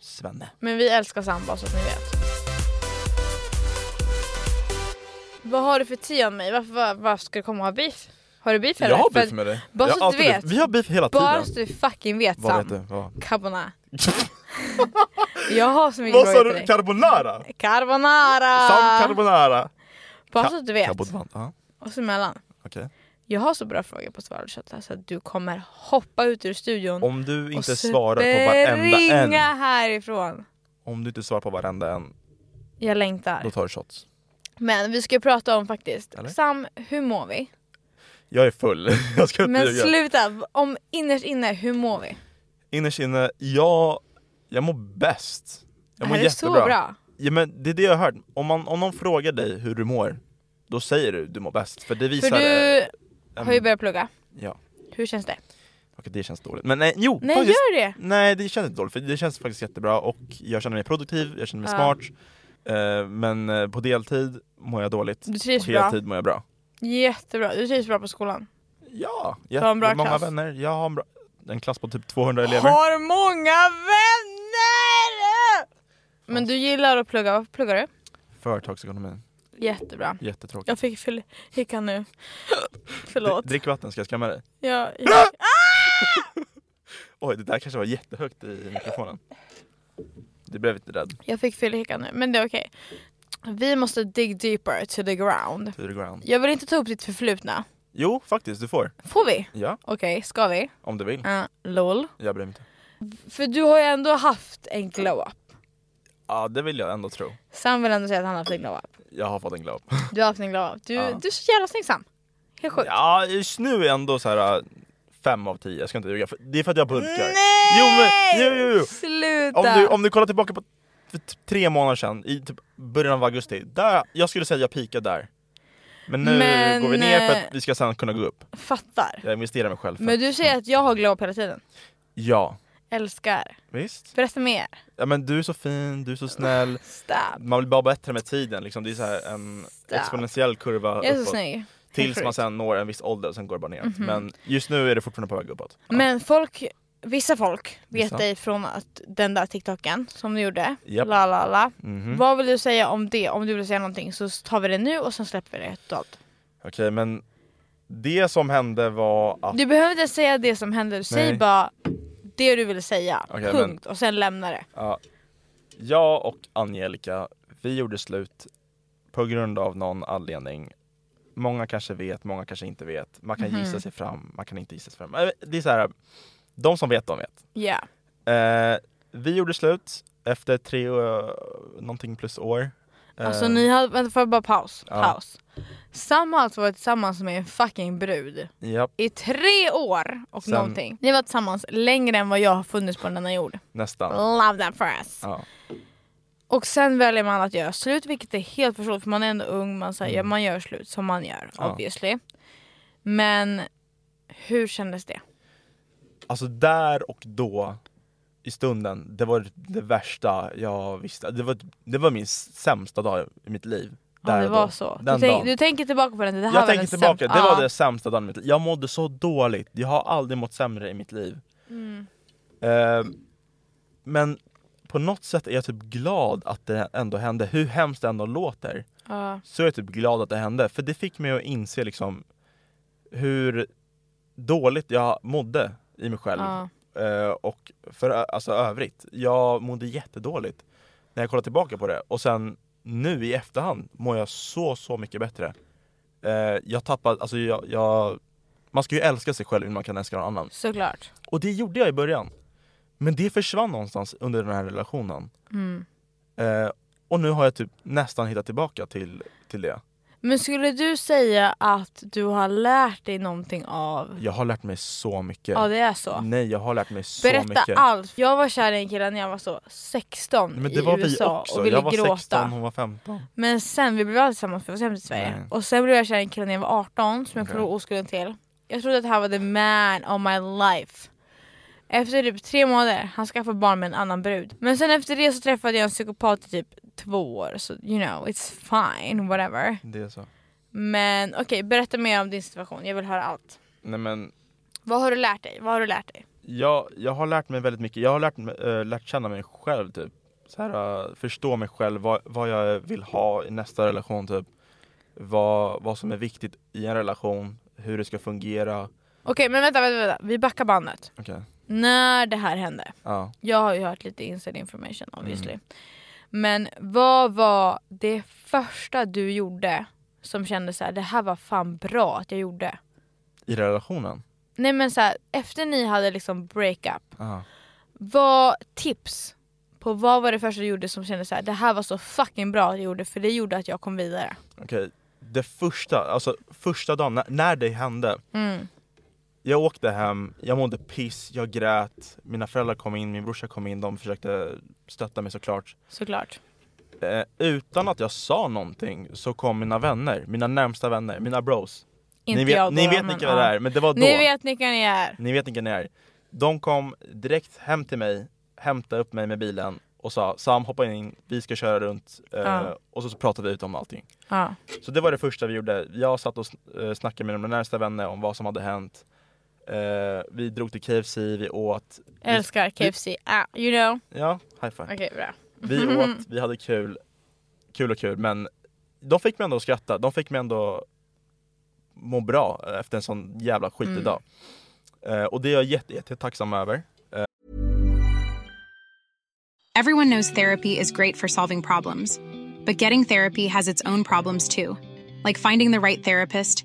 [SPEAKER 2] svenne.
[SPEAKER 1] Men vi älskar samba så att ni vet. Vad har du för tia om mig? Varför, var, varför ska du komma och ha beef? Har du beef eller?
[SPEAKER 2] Jag har
[SPEAKER 1] För
[SPEAKER 2] beef
[SPEAKER 1] att-
[SPEAKER 2] med dig.
[SPEAKER 1] bara
[SPEAKER 2] Jag
[SPEAKER 1] så
[SPEAKER 2] har
[SPEAKER 1] att du
[SPEAKER 2] alltid beef.
[SPEAKER 1] vet.
[SPEAKER 2] Vi har beef hela
[SPEAKER 1] Bara så
[SPEAKER 2] tiden.
[SPEAKER 1] du fucking vet
[SPEAKER 2] Vad
[SPEAKER 1] Sam.
[SPEAKER 2] heter vad?
[SPEAKER 1] Carbonara. Jag har så mycket
[SPEAKER 2] Vad sa
[SPEAKER 1] frågor till
[SPEAKER 2] du?
[SPEAKER 1] dig.
[SPEAKER 2] Carbonara?
[SPEAKER 1] Carbonara!
[SPEAKER 2] Sam carbonara?
[SPEAKER 1] Bara
[SPEAKER 2] Ka-
[SPEAKER 1] så att du vet.
[SPEAKER 2] Carbonara, ja.
[SPEAKER 1] Och så mellan.
[SPEAKER 2] ah, Okej.
[SPEAKER 1] Jag har så bra frågor på Svarad Kött här, så att du kommer hoppa ut ur studion
[SPEAKER 2] Om du inte
[SPEAKER 1] och
[SPEAKER 2] svarar på varenda en
[SPEAKER 1] springa härifrån.
[SPEAKER 2] Om du inte svarar på varenda en,
[SPEAKER 1] Jag längtar.
[SPEAKER 2] då tar du shots.
[SPEAKER 1] Men vi ska prata om faktiskt,
[SPEAKER 2] Eller?
[SPEAKER 1] Sam hur mår vi?
[SPEAKER 2] Jag är full, jag ska inte
[SPEAKER 1] Men
[SPEAKER 2] ljuga.
[SPEAKER 1] sluta, om innerst inne, hur mår vi?
[SPEAKER 2] Innerst inne, jag, jag mår bäst. Jag mår
[SPEAKER 1] det här
[SPEAKER 2] jättebra.
[SPEAKER 1] är så bra.
[SPEAKER 2] Ja, men det är det jag har hört. Om, man, om någon frågar dig hur du mår, då säger du du mår bäst. För det visar
[SPEAKER 1] För du,
[SPEAKER 2] Ehm,
[SPEAKER 1] Har ju börjat plugga.
[SPEAKER 2] Ja,
[SPEAKER 1] Hur känns det?
[SPEAKER 2] okej det känns dåligt. Men nej, jo!
[SPEAKER 1] Nej
[SPEAKER 2] faktiskt,
[SPEAKER 1] gör det!
[SPEAKER 2] nej det känns inte dåligt, för det känns faktiskt jättebra och jag känner mig produktiv, jag känner mig
[SPEAKER 1] Ja.
[SPEAKER 2] smart. Eh, men eh, på deltid mår jag dåligt,
[SPEAKER 1] Du
[SPEAKER 2] på
[SPEAKER 1] trivs bra.
[SPEAKER 2] heltid mår jag bra.
[SPEAKER 1] Jättebra. Du trivs bra på skolan.
[SPEAKER 2] Ja, jag
[SPEAKER 1] Du har en bra
[SPEAKER 2] många
[SPEAKER 1] klass.
[SPEAKER 2] vänner, jag har en, bra, en klass på typ 200 elever.
[SPEAKER 1] Har många vänner! Men du gillar att plugga. Varför pluggar du?
[SPEAKER 2] Företagsekonomi,
[SPEAKER 1] Jättebra.
[SPEAKER 2] jättetråkigt.
[SPEAKER 1] Jag fick fyll... hicka nu. Förlåt.
[SPEAKER 2] Dri- Drick Ah! vatten, ska jag skrämma dig?
[SPEAKER 1] Jag...
[SPEAKER 2] Oj, det där kanske var jättehögt i mikrofonen. Du blev inte rädd.
[SPEAKER 1] jag fick fyllehicka nu, men det är okej. Vi måste dig deeper to the ground.
[SPEAKER 2] To the ground.
[SPEAKER 1] Jag vill inte ta upp ditt förflutna.
[SPEAKER 2] Jo, faktiskt, du får.
[SPEAKER 1] Får vi?
[SPEAKER 2] Ja,
[SPEAKER 1] Okej, ska vi?
[SPEAKER 2] om du vill.
[SPEAKER 1] Uh, LOL.
[SPEAKER 2] Jag bryr mig inte.
[SPEAKER 1] För du har ju ändå haft en glow-up.
[SPEAKER 2] Ja, det vill jag ändå tro.
[SPEAKER 1] Sam vill ändå säga att han har haft en glow-up.
[SPEAKER 2] Jag har fått en glow up.
[SPEAKER 1] Du har haft en glow-up. Du,
[SPEAKER 2] Ja.
[SPEAKER 1] du är så jävla snygg Sam. Helt sjukt.
[SPEAKER 2] Ja, just nu är jag ändå så här äh, fem av tio. jag ska inte ljuga. För- Det är för att jag bulkar.
[SPEAKER 1] Nej!
[SPEAKER 2] Jo, men, jo, jo, jo.
[SPEAKER 1] Sluta!
[SPEAKER 2] Om, du, om du kollar tillbaka på för t- tre månader sedan, i typ början av augusti, där, jag skulle säga att jag peakade där. Men nu
[SPEAKER 1] Men,
[SPEAKER 2] går vi ner för
[SPEAKER 1] eh,
[SPEAKER 2] att vi ska sen kunna gå upp.
[SPEAKER 1] Fattar.
[SPEAKER 2] Jag investerar mig själv. För.
[SPEAKER 1] Men du säger att jag har glow-up hela tiden.
[SPEAKER 2] Ja,
[SPEAKER 1] Älskar.
[SPEAKER 2] visst.
[SPEAKER 1] Berätta mer.
[SPEAKER 2] Ja, men du är så fin, du är så snäll.
[SPEAKER 1] Stab.
[SPEAKER 2] Man blir bara bättre med tiden, liksom. det är så här en exponentiell kurva
[SPEAKER 1] Jag är så
[SPEAKER 2] uppåt.
[SPEAKER 1] snygg.
[SPEAKER 2] Tills man
[SPEAKER 1] Sjukt.
[SPEAKER 2] sen når en viss ålder och sen går det bara neråt. Men just nu är det fortfarande på väg uppåt. Ja.
[SPEAKER 1] Mhm. Men folk, vissa folk vet
[SPEAKER 2] Vissa.
[SPEAKER 1] dig från att den där TikToken som du gjorde,
[SPEAKER 2] Japp.
[SPEAKER 1] la la la.
[SPEAKER 2] Mhm.
[SPEAKER 1] Vad vill du säga om det? Om du vill säga någonting så tar vi det nu och sen släpper vi det totalt.
[SPEAKER 2] Okej men det som hände var att...
[SPEAKER 1] Du behöver inte säga det som hände, säg
[SPEAKER 2] Nej.
[SPEAKER 1] bara det du vill säga.
[SPEAKER 2] Okej,
[SPEAKER 1] punkt. Och sen lämna det.
[SPEAKER 2] Ja, eh, jag och Angelica, vi gjorde slut på grund av någon anledning. Många kanske vet, många kanske inte vet. Man kan
[SPEAKER 1] Mhm.
[SPEAKER 2] gissa sig fram, man kan inte gissa sig fram. Eh, Det är så här, de som vet, de vet.
[SPEAKER 1] Ja.
[SPEAKER 2] Eh, vi gjorde slut efter tre, uh, någonting plus år. Eh,
[SPEAKER 1] Alltså ni har, vänta får jag bara paus?
[SPEAKER 2] Ja.
[SPEAKER 1] Paus. Sam har alltså varit tillsammans med en fucking brud
[SPEAKER 2] Japp,
[SPEAKER 1] i tre år och
[SPEAKER 2] Sen-
[SPEAKER 1] någonting. Ni har varit tillsammans längre än vad jag har funnits på denna jord.
[SPEAKER 2] nästan.
[SPEAKER 1] Love that for us.
[SPEAKER 2] Ja.
[SPEAKER 1] Och sen väljer man att göra slut vilket är helt förståeligt för man är ändå ung, man, säger, man gör slut som man gör
[SPEAKER 2] Mm. Ja.
[SPEAKER 1] obviously. Men hur kändes det?
[SPEAKER 2] Alltså där och då, i stunden, det var det värsta jag visste. Det var, det var min sämsta dag i mitt liv.
[SPEAKER 1] Ja,
[SPEAKER 2] Där
[SPEAKER 1] det
[SPEAKER 2] och
[SPEAKER 1] var
[SPEAKER 2] då.
[SPEAKER 1] så. Du,
[SPEAKER 2] Den
[SPEAKER 1] tänk,
[SPEAKER 2] dagen.
[SPEAKER 1] du tänker tillbaka på den, det här
[SPEAKER 2] jag
[SPEAKER 1] var
[SPEAKER 2] tänker
[SPEAKER 1] den
[SPEAKER 2] tillbaka,
[SPEAKER 1] sämsta-
[SPEAKER 2] det var
[SPEAKER 1] Ja.
[SPEAKER 2] det sämsta dagen i mitt liv. Jag mådde så dåligt, jag har aldrig mått sämre i mitt liv.
[SPEAKER 1] Mm.
[SPEAKER 2] Eh, men på något sätt är jag typ glad att det ändå hände, hur hemskt det ändå låter.
[SPEAKER 1] Ja.
[SPEAKER 2] Så är jag typ glad att det hände, för det fick mig att inse liksom hur dåligt jag mådde i mig själv.
[SPEAKER 1] Ja.
[SPEAKER 2] Eh, och för ö- alltså, övrigt, jag mådde jättedåligt när jag kollar tillbaka på det. Och sen nu i efterhand mår jag så, så mycket bättre. Eh, jag tappade, alltså jag, jag... Man ska ju älska sig själv innan man kan älska någon annan.
[SPEAKER 1] Såklart.
[SPEAKER 2] Och det gjorde jag i början. Men det försvann någonstans under den här relationen.
[SPEAKER 1] Mm.
[SPEAKER 2] Eh, och nu har jag typ nästan hittat tillbaka till, till det.
[SPEAKER 1] Men skulle du säga att du har lärt dig någonting av...
[SPEAKER 2] Jag har lärt mig så mycket.
[SPEAKER 1] Ja det är så.
[SPEAKER 2] Nej, jag har lärt mig Mm, så
[SPEAKER 1] Berätta
[SPEAKER 2] mycket.
[SPEAKER 1] allt. Jag var kär i en kille när jag var så 16
[SPEAKER 2] Men det
[SPEAKER 1] i
[SPEAKER 2] var
[SPEAKER 1] USA
[SPEAKER 2] vi också.
[SPEAKER 1] och ville
[SPEAKER 2] Jag var
[SPEAKER 1] gråta.
[SPEAKER 2] 16, hon var 15.
[SPEAKER 1] Men sen, vi blev aldrig tillsammans för jag var så hemma till Sverige.
[SPEAKER 2] Nej.
[SPEAKER 1] Och sen blev jag kär i en kille när jag var 18 som jag
[SPEAKER 2] Okej.
[SPEAKER 1] okay. var oskulden till. Jag trodde att han var the man of my life. Efter typ tre månader, han skaffade barn med en annan brud. Men sen efter det så träffade jag en psykopat i typ två år. Så you know, it's fine, whatever.
[SPEAKER 2] Det är så.
[SPEAKER 1] Men okej, berätta mer om din situation. Jag vill höra allt.
[SPEAKER 2] Nej men,
[SPEAKER 1] Vad har du lärt dig? Vad har du lärt dig?
[SPEAKER 2] jag, jag har lärt mig väldigt mycket. Jag har lärt, mig- eh, lärt känna mig själv typ. Så här, eh, förstå mig själv, vad, vad jag vill ha i nästa relation typ. Vad, vad som är viktigt i en relation, hur det ska fungera.
[SPEAKER 1] Okej, men vänta, vänta, vänta. Vi backar bandet.
[SPEAKER 2] Okej,
[SPEAKER 1] När det här hände.
[SPEAKER 2] ja.
[SPEAKER 1] Jag har ju hört lite inside information obviously. Men vad var det första du gjorde som kände så här, det här var fan bra att jag gjorde?
[SPEAKER 2] I relationen?
[SPEAKER 1] Nej men så här, efter ni hade liksom breakup,
[SPEAKER 2] Ja.
[SPEAKER 1] vad tips på vad var det första du gjorde som kände så här, det här var så fucking bra att jag gjorde för det gjorde att jag kom vidare?
[SPEAKER 2] Okej, det första, alltså första dagen, när, när det hände. Jag åkte hem, jag mådde piss, jag grät, mina föräldrar kom in, min brorsa kom in, de försökte stötta mig såklart.
[SPEAKER 1] Såklart.
[SPEAKER 2] Eh, utan att jag sa någonting så kom mina vänner, mina närmsta vänner, mina bros.
[SPEAKER 1] Inte
[SPEAKER 2] ni vet,
[SPEAKER 1] jag då,
[SPEAKER 2] ni vet
[SPEAKER 1] men,
[SPEAKER 2] vilka det
[SPEAKER 1] ja.
[SPEAKER 2] är, men det var då.
[SPEAKER 1] Ni vet vilka ni är.
[SPEAKER 2] Ni vet vilka ni är. De kom direkt hem till mig, hämtade upp mig med bilen och sa Sam hoppa in, vi ska köra runt eh,
[SPEAKER 1] Ja.
[SPEAKER 2] och så, så pratade vi ut om allting.
[SPEAKER 1] Ja.
[SPEAKER 2] Så det var det första vi gjorde. Jag satt och sn- eh, snackade med mina närmsta vänner om vad som hade hänt. Eh, vi drog till KFC, vi åt.
[SPEAKER 1] Älskar KFC. Ah, you know.
[SPEAKER 2] Ja, high five.
[SPEAKER 1] Okej, bra.
[SPEAKER 2] Vi åt, vi hade kul. Kul och kul, men de fick mig ändå att skratta. De fick mig ändå må bra efter en sån jävla skitig dag. Eh, och det är jag jätte, jätte tacksam över.
[SPEAKER 5] Everyone knows therapy is great for solving problems, but getting therapy has its own problems too, like finding the right therapist,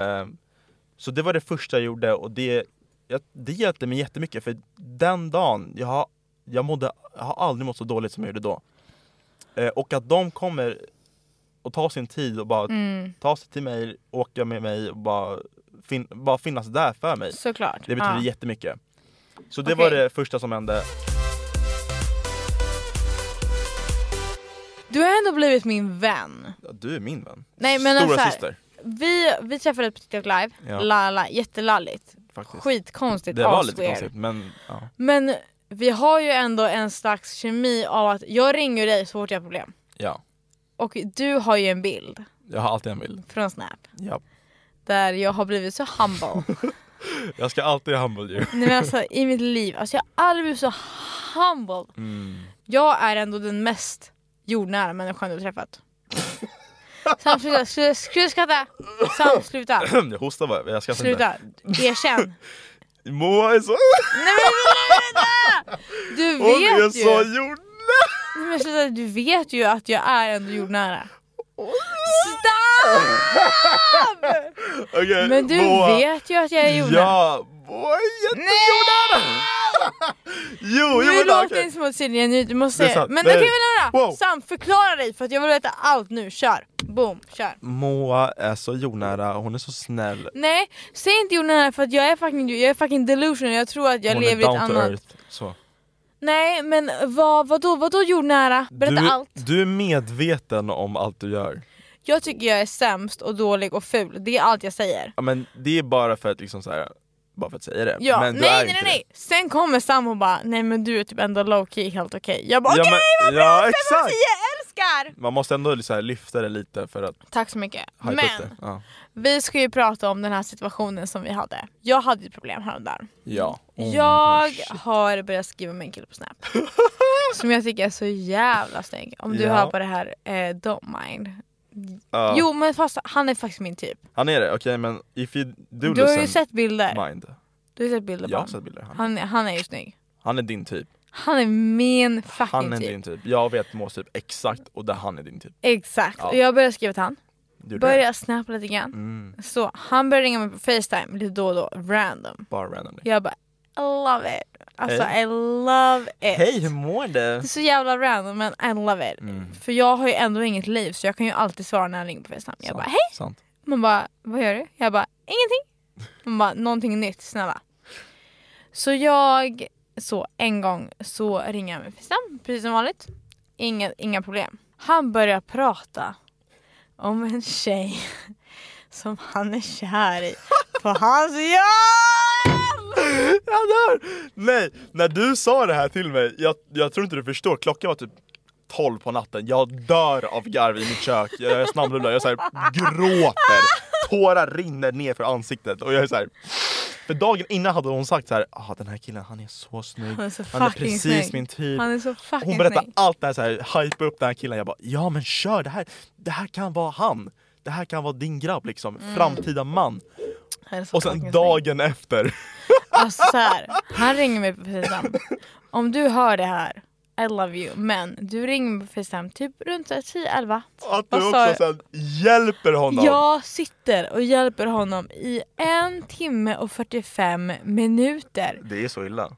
[SPEAKER 2] Ehm, Så det var det första jag gjorde och det, jag, det hjälpte mig jättemycket för den dagen, jag har, jag, mådde, jag har aldrig mått så dåligt som jag gjorde då. Eh, och att de kommer och tar sin tid och bara tar sig till mig, åker med mig och bara, fin, bara finnas där för mig.
[SPEAKER 1] Såklart.
[SPEAKER 2] Det betyder
[SPEAKER 1] Ja.
[SPEAKER 2] jättemycket. Så det
[SPEAKER 1] Ah. Okej.
[SPEAKER 2] var det första som hände.
[SPEAKER 1] Du har ändå blivit min vän.
[SPEAKER 2] Ja, Du är min vän.
[SPEAKER 1] Nej, men alltså
[SPEAKER 2] Stora
[SPEAKER 1] så här-
[SPEAKER 2] syster.
[SPEAKER 1] Vi, vi träffades på TikTok live,
[SPEAKER 2] Ja.
[SPEAKER 1] la, la, jättelalligt.
[SPEAKER 2] Faktiskt.
[SPEAKER 1] Skitkonstigt,
[SPEAKER 2] Det var
[SPEAKER 1] as
[SPEAKER 2] lite
[SPEAKER 1] weird.
[SPEAKER 2] konstigt men ja.
[SPEAKER 1] Men vi har ju ändå en slags kemi av att jag ringer dig så fort jag har problem.
[SPEAKER 2] ja.
[SPEAKER 1] Och du har ju en bild
[SPEAKER 2] Jag har alltid en bild.
[SPEAKER 1] från Snap
[SPEAKER 2] Ja.
[SPEAKER 1] där jag har blivit så humble.
[SPEAKER 2] Jag ska alltid humble you.
[SPEAKER 1] Nej, men alltså, I mitt liv, alltså, jag har aldrig blivit så humble.
[SPEAKER 2] Mm.
[SPEAKER 1] Jag är ändå den mest jordnära människan du träffat. Sam sluta, sluta, sluta skratta! Sam sluta,
[SPEAKER 2] Jag hostar bara, jag skrattar inte.
[SPEAKER 1] sluta, erkänn.
[SPEAKER 2] Moa är så...
[SPEAKER 1] Du
[SPEAKER 2] Hon är
[SPEAKER 1] vet
[SPEAKER 2] så
[SPEAKER 1] ju,
[SPEAKER 2] jord...
[SPEAKER 1] Nej, men sluta, du vet ju att jag är ändå jordnära. Stopp!
[SPEAKER 2] Okej,
[SPEAKER 1] Men du
[SPEAKER 2] Moa.
[SPEAKER 1] vet ju att jag är jordnära.
[SPEAKER 2] Ja, Moa är jättejordnära! jo, jo
[SPEAKER 1] Nu
[SPEAKER 2] men
[SPEAKER 1] låter
[SPEAKER 2] okej.
[SPEAKER 1] det som att Silja är ny, du måste
[SPEAKER 2] Det är
[SPEAKER 1] säga.
[SPEAKER 2] sant.
[SPEAKER 1] Men
[SPEAKER 2] Det
[SPEAKER 1] okej vi
[SPEAKER 2] är-
[SPEAKER 1] lämnar
[SPEAKER 2] Wow.
[SPEAKER 1] det. Sam, förklara dig för att jag vill veta allt nu, kör! Boom, kör!
[SPEAKER 2] Moa är så jordnära, hon är så snäll.
[SPEAKER 1] Nej, säg inte jordnära för att jag är fucking, jag är fucking delusional, jag tror att jag
[SPEAKER 2] hon
[SPEAKER 1] lever i
[SPEAKER 2] är
[SPEAKER 1] ett
[SPEAKER 2] down to
[SPEAKER 1] annat...
[SPEAKER 2] earth. Så.
[SPEAKER 1] Nej men vad, vadå, vadå jordnära? Berätta
[SPEAKER 2] du,
[SPEAKER 1] allt!
[SPEAKER 2] Du är medveten om allt du gör.
[SPEAKER 1] Jag tycker jag är sämst och dålig och ful, det är allt jag säger.
[SPEAKER 2] Ja, men det är bara för att liksom så här, bara för att säga det.
[SPEAKER 1] Ja,
[SPEAKER 2] men du är
[SPEAKER 1] nej nej
[SPEAKER 2] inte
[SPEAKER 1] nej,
[SPEAKER 2] det.
[SPEAKER 1] nej! Sen kommer Sam och bara nej men du är typ ändå low key helt okej. Jag bara
[SPEAKER 2] Ja,
[SPEAKER 1] okej
[SPEAKER 2] men-
[SPEAKER 1] vad bra!
[SPEAKER 2] ja,
[SPEAKER 1] fem av
[SPEAKER 2] exakt.
[SPEAKER 1] tio, älskar!
[SPEAKER 2] Man måste ändå så här lyfta det lite för att
[SPEAKER 1] Tack så mycket.
[SPEAKER 2] hypa upp
[SPEAKER 1] Men
[SPEAKER 2] det. Ja.
[SPEAKER 1] vi ska ju prata om den här situationen som vi hade. Jag hade ett problem häromdagen.
[SPEAKER 2] ja. Oh my
[SPEAKER 1] jag
[SPEAKER 2] gosh.
[SPEAKER 1] har börjat skriva med en kille på Snap. som jag tycker är så jävla snygg. Om du
[SPEAKER 2] Ja.
[SPEAKER 1] hör på det här, eh, don't mind.
[SPEAKER 2] Ja.
[SPEAKER 1] Jo men fast han är faktiskt min typ.
[SPEAKER 2] Han är det, okej men if you do
[SPEAKER 1] Du har ju
[SPEAKER 2] listen,
[SPEAKER 1] sett bilder.
[SPEAKER 2] mind.
[SPEAKER 1] Du har sett bilder på
[SPEAKER 2] Jag har
[SPEAKER 1] honom.
[SPEAKER 2] sett bilder. Han,
[SPEAKER 1] Han, är- han är ju snygg.
[SPEAKER 2] han är din typ.
[SPEAKER 1] Han är min fucking
[SPEAKER 2] Han är
[SPEAKER 1] typ.
[SPEAKER 2] din typ. Jag vet Mås typ exakt och det han är din typ.
[SPEAKER 1] Exakt.
[SPEAKER 2] Ja.
[SPEAKER 1] Och jag började skriva till han.
[SPEAKER 2] Du är det. Mm.
[SPEAKER 1] Började snappa lite grann. Så han började ringa mig på Facetime lite då och då, random.
[SPEAKER 2] Bara randomly.
[SPEAKER 1] Jag bara I love it. Alltså
[SPEAKER 2] Hej.
[SPEAKER 1] I love it.
[SPEAKER 2] Hej hur mår du?
[SPEAKER 1] Det är så jävla random men I love it.
[SPEAKER 2] Mm.
[SPEAKER 1] För jag har ju ändå inget liv så jag kan ju alltid svara när han ringer på Facetime. Jag bara hej!
[SPEAKER 2] Sant.
[SPEAKER 1] Man bara vad gör du? Jag bara ingenting. Man bara någonting nytt snälla. Så jag, så en gång så ringer han mig på Facetime precis som vanligt. Inga, inga problem. Han börjar prata om en tjej som han är kär i på hans jobb!
[SPEAKER 2] Jag dör! Nej, när du sa det här till mig, jag, jag tror inte du förstår, klockan var typ 12 på natten, jag dör av garv i mitt kök, jag, jag snabblullar, jag så här, gråter, tårar rinner ner för ansiktet och jag är så här. För dagen innan hade hon sagt så här, ah, den här killen han är så snygg,
[SPEAKER 1] Han är så
[SPEAKER 2] han är
[SPEAKER 1] fucking
[SPEAKER 2] precis
[SPEAKER 1] snygg."
[SPEAKER 2] min typ.
[SPEAKER 1] Han är så fucking
[SPEAKER 2] hon berättar
[SPEAKER 1] snygg.
[SPEAKER 2] allt det här, så här hype upp den här killen. Jag bara, ja men kör, det här, det här kan vara han. Det här kan vara din grabb liksom, framtida man.
[SPEAKER 1] Han är så
[SPEAKER 2] Och sen
[SPEAKER 1] Mm. fucking
[SPEAKER 2] dagen efter,
[SPEAKER 1] Alltså så här, han ringer mig på Facetime. Om du hör det här, I love you. Men du ringer mig på Facetime typ runt så här 10-11.
[SPEAKER 2] att du
[SPEAKER 1] Vad sa
[SPEAKER 2] också sen hjälper honom.
[SPEAKER 1] Jag sitter och hjälper honom i en timme och 45 minuter.
[SPEAKER 2] Det är så illa.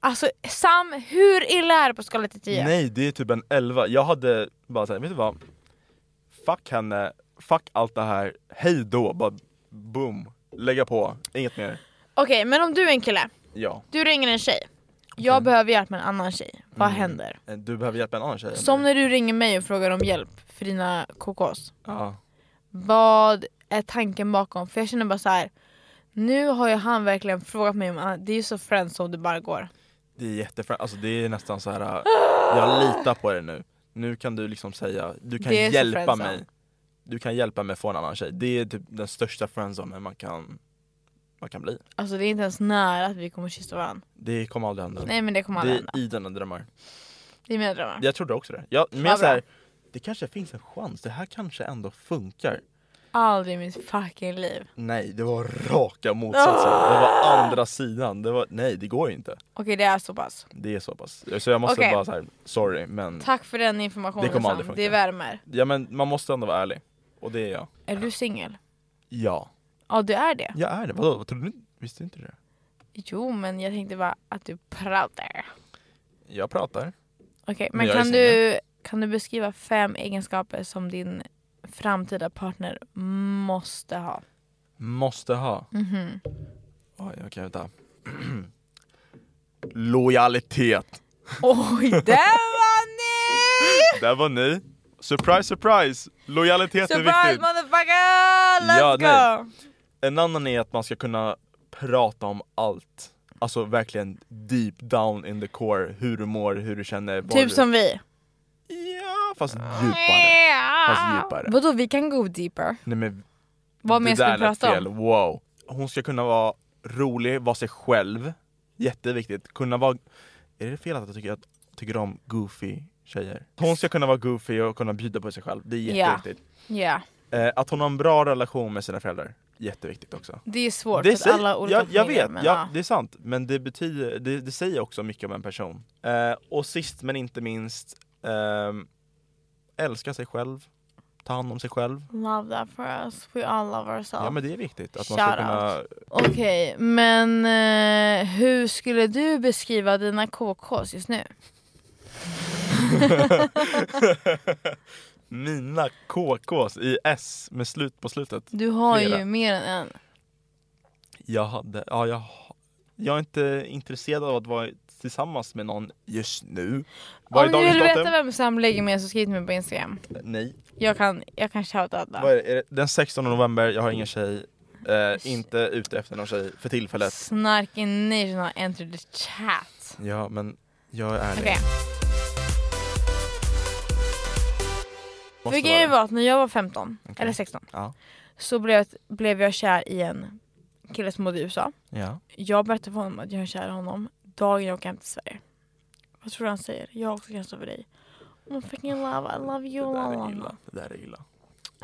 [SPEAKER 1] Alltså Sam, hur illa är det på skala till 10?
[SPEAKER 2] Nej, det är typ en 11. Jag hade bara såhär, vet du vad? Fuck henne, fuck allt det här, hej då, bara boom, lägga på, inget mer.
[SPEAKER 1] Okej, men om du är en kille,
[SPEAKER 2] Ja,
[SPEAKER 1] du ringer en tjej. Jag behöver hjälp med en annan tjej. Vad händer?
[SPEAKER 2] Eh, du behöver hjälp med en annan tjej.
[SPEAKER 1] Som när du ringer mig och frågar om hjälp för dina kokos.
[SPEAKER 2] Ja.
[SPEAKER 1] Vad är tanken bakom? För jag känner bara så här. Nu har ju han verkligen frågat mig om annat. Det är ju så friends som det bara går.
[SPEAKER 2] Det är jättefränt, alltså det är nästan så här. äh, jag litar på dig nu. Nu kan du liksom säga, du kan
[SPEAKER 1] Det är så
[SPEAKER 2] hjälpa
[SPEAKER 1] friendzone.
[SPEAKER 2] mig. Du kan hjälpa mig få en annan tjej. Det är typ den största friendzonen man kan, man kan bli.
[SPEAKER 1] Alltså det är inte ens nära att vi kommer kyssa varandra.
[SPEAKER 2] Det kommer aldrig hända.
[SPEAKER 1] Nej men det kommer aldrig
[SPEAKER 2] det
[SPEAKER 1] hända.
[SPEAKER 2] är i dina drömmar.
[SPEAKER 1] Det är mina drömmar.
[SPEAKER 2] Jag trodde också det. Jag, men
[SPEAKER 1] bra.
[SPEAKER 2] jag så här, det kanske finns en chans, det här kanske ändå funkar.
[SPEAKER 1] Aldrig i mitt fucking liv.
[SPEAKER 2] Nej, det var raka motsatsen.
[SPEAKER 1] Ah.
[SPEAKER 2] Det var andra sidan. Det var, nej, det går ju inte.
[SPEAKER 1] Okej det är så pass.
[SPEAKER 2] Det är så pass. Så jag måste
[SPEAKER 1] Okej.
[SPEAKER 2] bara så här, sorry men,
[SPEAKER 1] Tack för den informationen
[SPEAKER 2] Det kommer
[SPEAKER 1] Sam.
[SPEAKER 2] aldrig funka.
[SPEAKER 1] Det värmer.
[SPEAKER 2] ja, men man måste ändå vara ärlig. Och det är jag.
[SPEAKER 1] Är du singel?
[SPEAKER 2] Ja.
[SPEAKER 1] Ja du är det.
[SPEAKER 2] Jag är det, vadå? Trodde du, visste du inte det?
[SPEAKER 1] Jo men jag tänkte bara att du pratar.
[SPEAKER 2] Jag pratar.
[SPEAKER 1] Okej
[SPEAKER 2] Men
[SPEAKER 1] men
[SPEAKER 2] jag är
[SPEAKER 1] kan du, kan du beskriva fem egenskaper som din framtida partner måste ha?
[SPEAKER 2] Måste ha. mm
[SPEAKER 1] Mhm.
[SPEAKER 2] Oj, okej vänta. Lojalitet.
[SPEAKER 1] Oj, där var ni!
[SPEAKER 2] Där var ni. Surprise, surprise! Lojalitet är
[SPEAKER 1] Surprise
[SPEAKER 2] viktigt.
[SPEAKER 1] motherfucker! Let's
[SPEAKER 2] Ja, nej.
[SPEAKER 1] go!
[SPEAKER 2] En annan är att man ska kunna prata om allt. Alltså verkligen deep down in the core, hur du mår, hur du känner. vad
[SPEAKER 1] Typ
[SPEAKER 2] du...
[SPEAKER 1] som vi.
[SPEAKER 2] Ja, fast djupare. Fast djupare.
[SPEAKER 1] Vadå, vi kan gå deeper?
[SPEAKER 2] Nej men
[SPEAKER 1] Vad
[SPEAKER 2] det
[SPEAKER 1] mer ska
[SPEAKER 2] där
[SPEAKER 1] vi
[SPEAKER 2] lät
[SPEAKER 1] prata
[SPEAKER 2] fel.
[SPEAKER 1] om?
[SPEAKER 2] Wow. Hon ska kunna vara rolig, vara sig själv. Jätteviktigt. Kunna vara... Är det fel att jag tycker, att, tycker om goofy tjejer? Hon ska kunna vara goofy och kunna bjuda på sig själv. Det är
[SPEAKER 1] Ja.
[SPEAKER 2] jätteviktigt.
[SPEAKER 1] Ja,
[SPEAKER 2] Eh, att hon har en bra relation med sina föräldrar. Jätteviktigt också.
[SPEAKER 1] det är svårt
[SPEAKER 2] Det
[SPEAKER 1] för
[SPEAKER 2] säger-
[SPEAKER 1] att alla har olika
[SPEAKER 2] jag, jag
[SPEAKER 1] familjer,
[SPEAKER 2] vet,
[SPEAKER 1] men
[SPEAKER 2] ja,
[SPEAKER 1] ja.
[SPEAKER 2] det är sant. Men det, betyder, det, det säger också mycket om en person. Eh, och sist men inte minst, ehm, älska sig själv, ta hand om sig själv.
[SPEAKER 1] Love that for us, we all love
[SPEAKER 2] Ja,
[SPEAKER 1] ourselves.
[SPEAKER 2] men det är viktigt att man
[SPEAKER 1] Shout
[SPEAKER 2] ska kunna...
[SPEAKER 1] Okej, men eh, hur skulle du beskriva dina KKs just nu?
[SPEAKER 2] Mina KKs i S med slut på slutet.
[SPEAKER 1] Du har
[SPEAKER 2] Flera.
[SPEAKER 1] ju mer än en.
[SPEAKER 2] Jag hade, ja jag, jag är inte intresserad av att vara tillsammans med någon just nu. Vad är
[SPEAKER 1] Om ni
[SPEAKER 2] dagens
[SPEAKER 1] vill
[SPEAKER 2] datum?
[SPEAKER 1] veta vem Sam lägger med så skriv till mig på Instagram.
[SPEAKER 2] Nej.
[SPEAKER 1] Jag kan, jag kan shouta alla.
[SPEAKER 2] Vad är det? Är det? Den 16 november, jag har ingen tjej. Eh, inte ute efter någon tjej för tillfället.
[SPEAKER 1] Snarky Nation har entered the chat.
[SPEAKER 2] Ja, men jag är ärlig.
[SPEAKER 1] Okej,
[SPEAKER 2] Måste
[SPEAKER 1] för grejen
[SPEAKER 2] vara
[SPEAKER 1] var att när jag var 15,
[SPEAKER 2] Okej.
[SPEAKER 1] eller 16,
[SPEAKER 2] Ja.
[SPEAKER 1] så blev, blev jag kär i en kille som bodde i USA.
[SPEAKER 2] det. Ja.
[SPEAKER 1] Jag berättade för honom att jag är kär i honom dagen jag åker hem till Sverige. Vad tror du han säger? Jag är också kanske över dig. Oh fucking love, I love you.
[SPEAKER 2] Det
[SPEAKER 1] la,
[SPEAKER 2] där
[SPEAKER 1] la,
[SPEAKER 2] är
[SPEAKER 1] la.
[SPEAKER 2] illa. Det där är illa.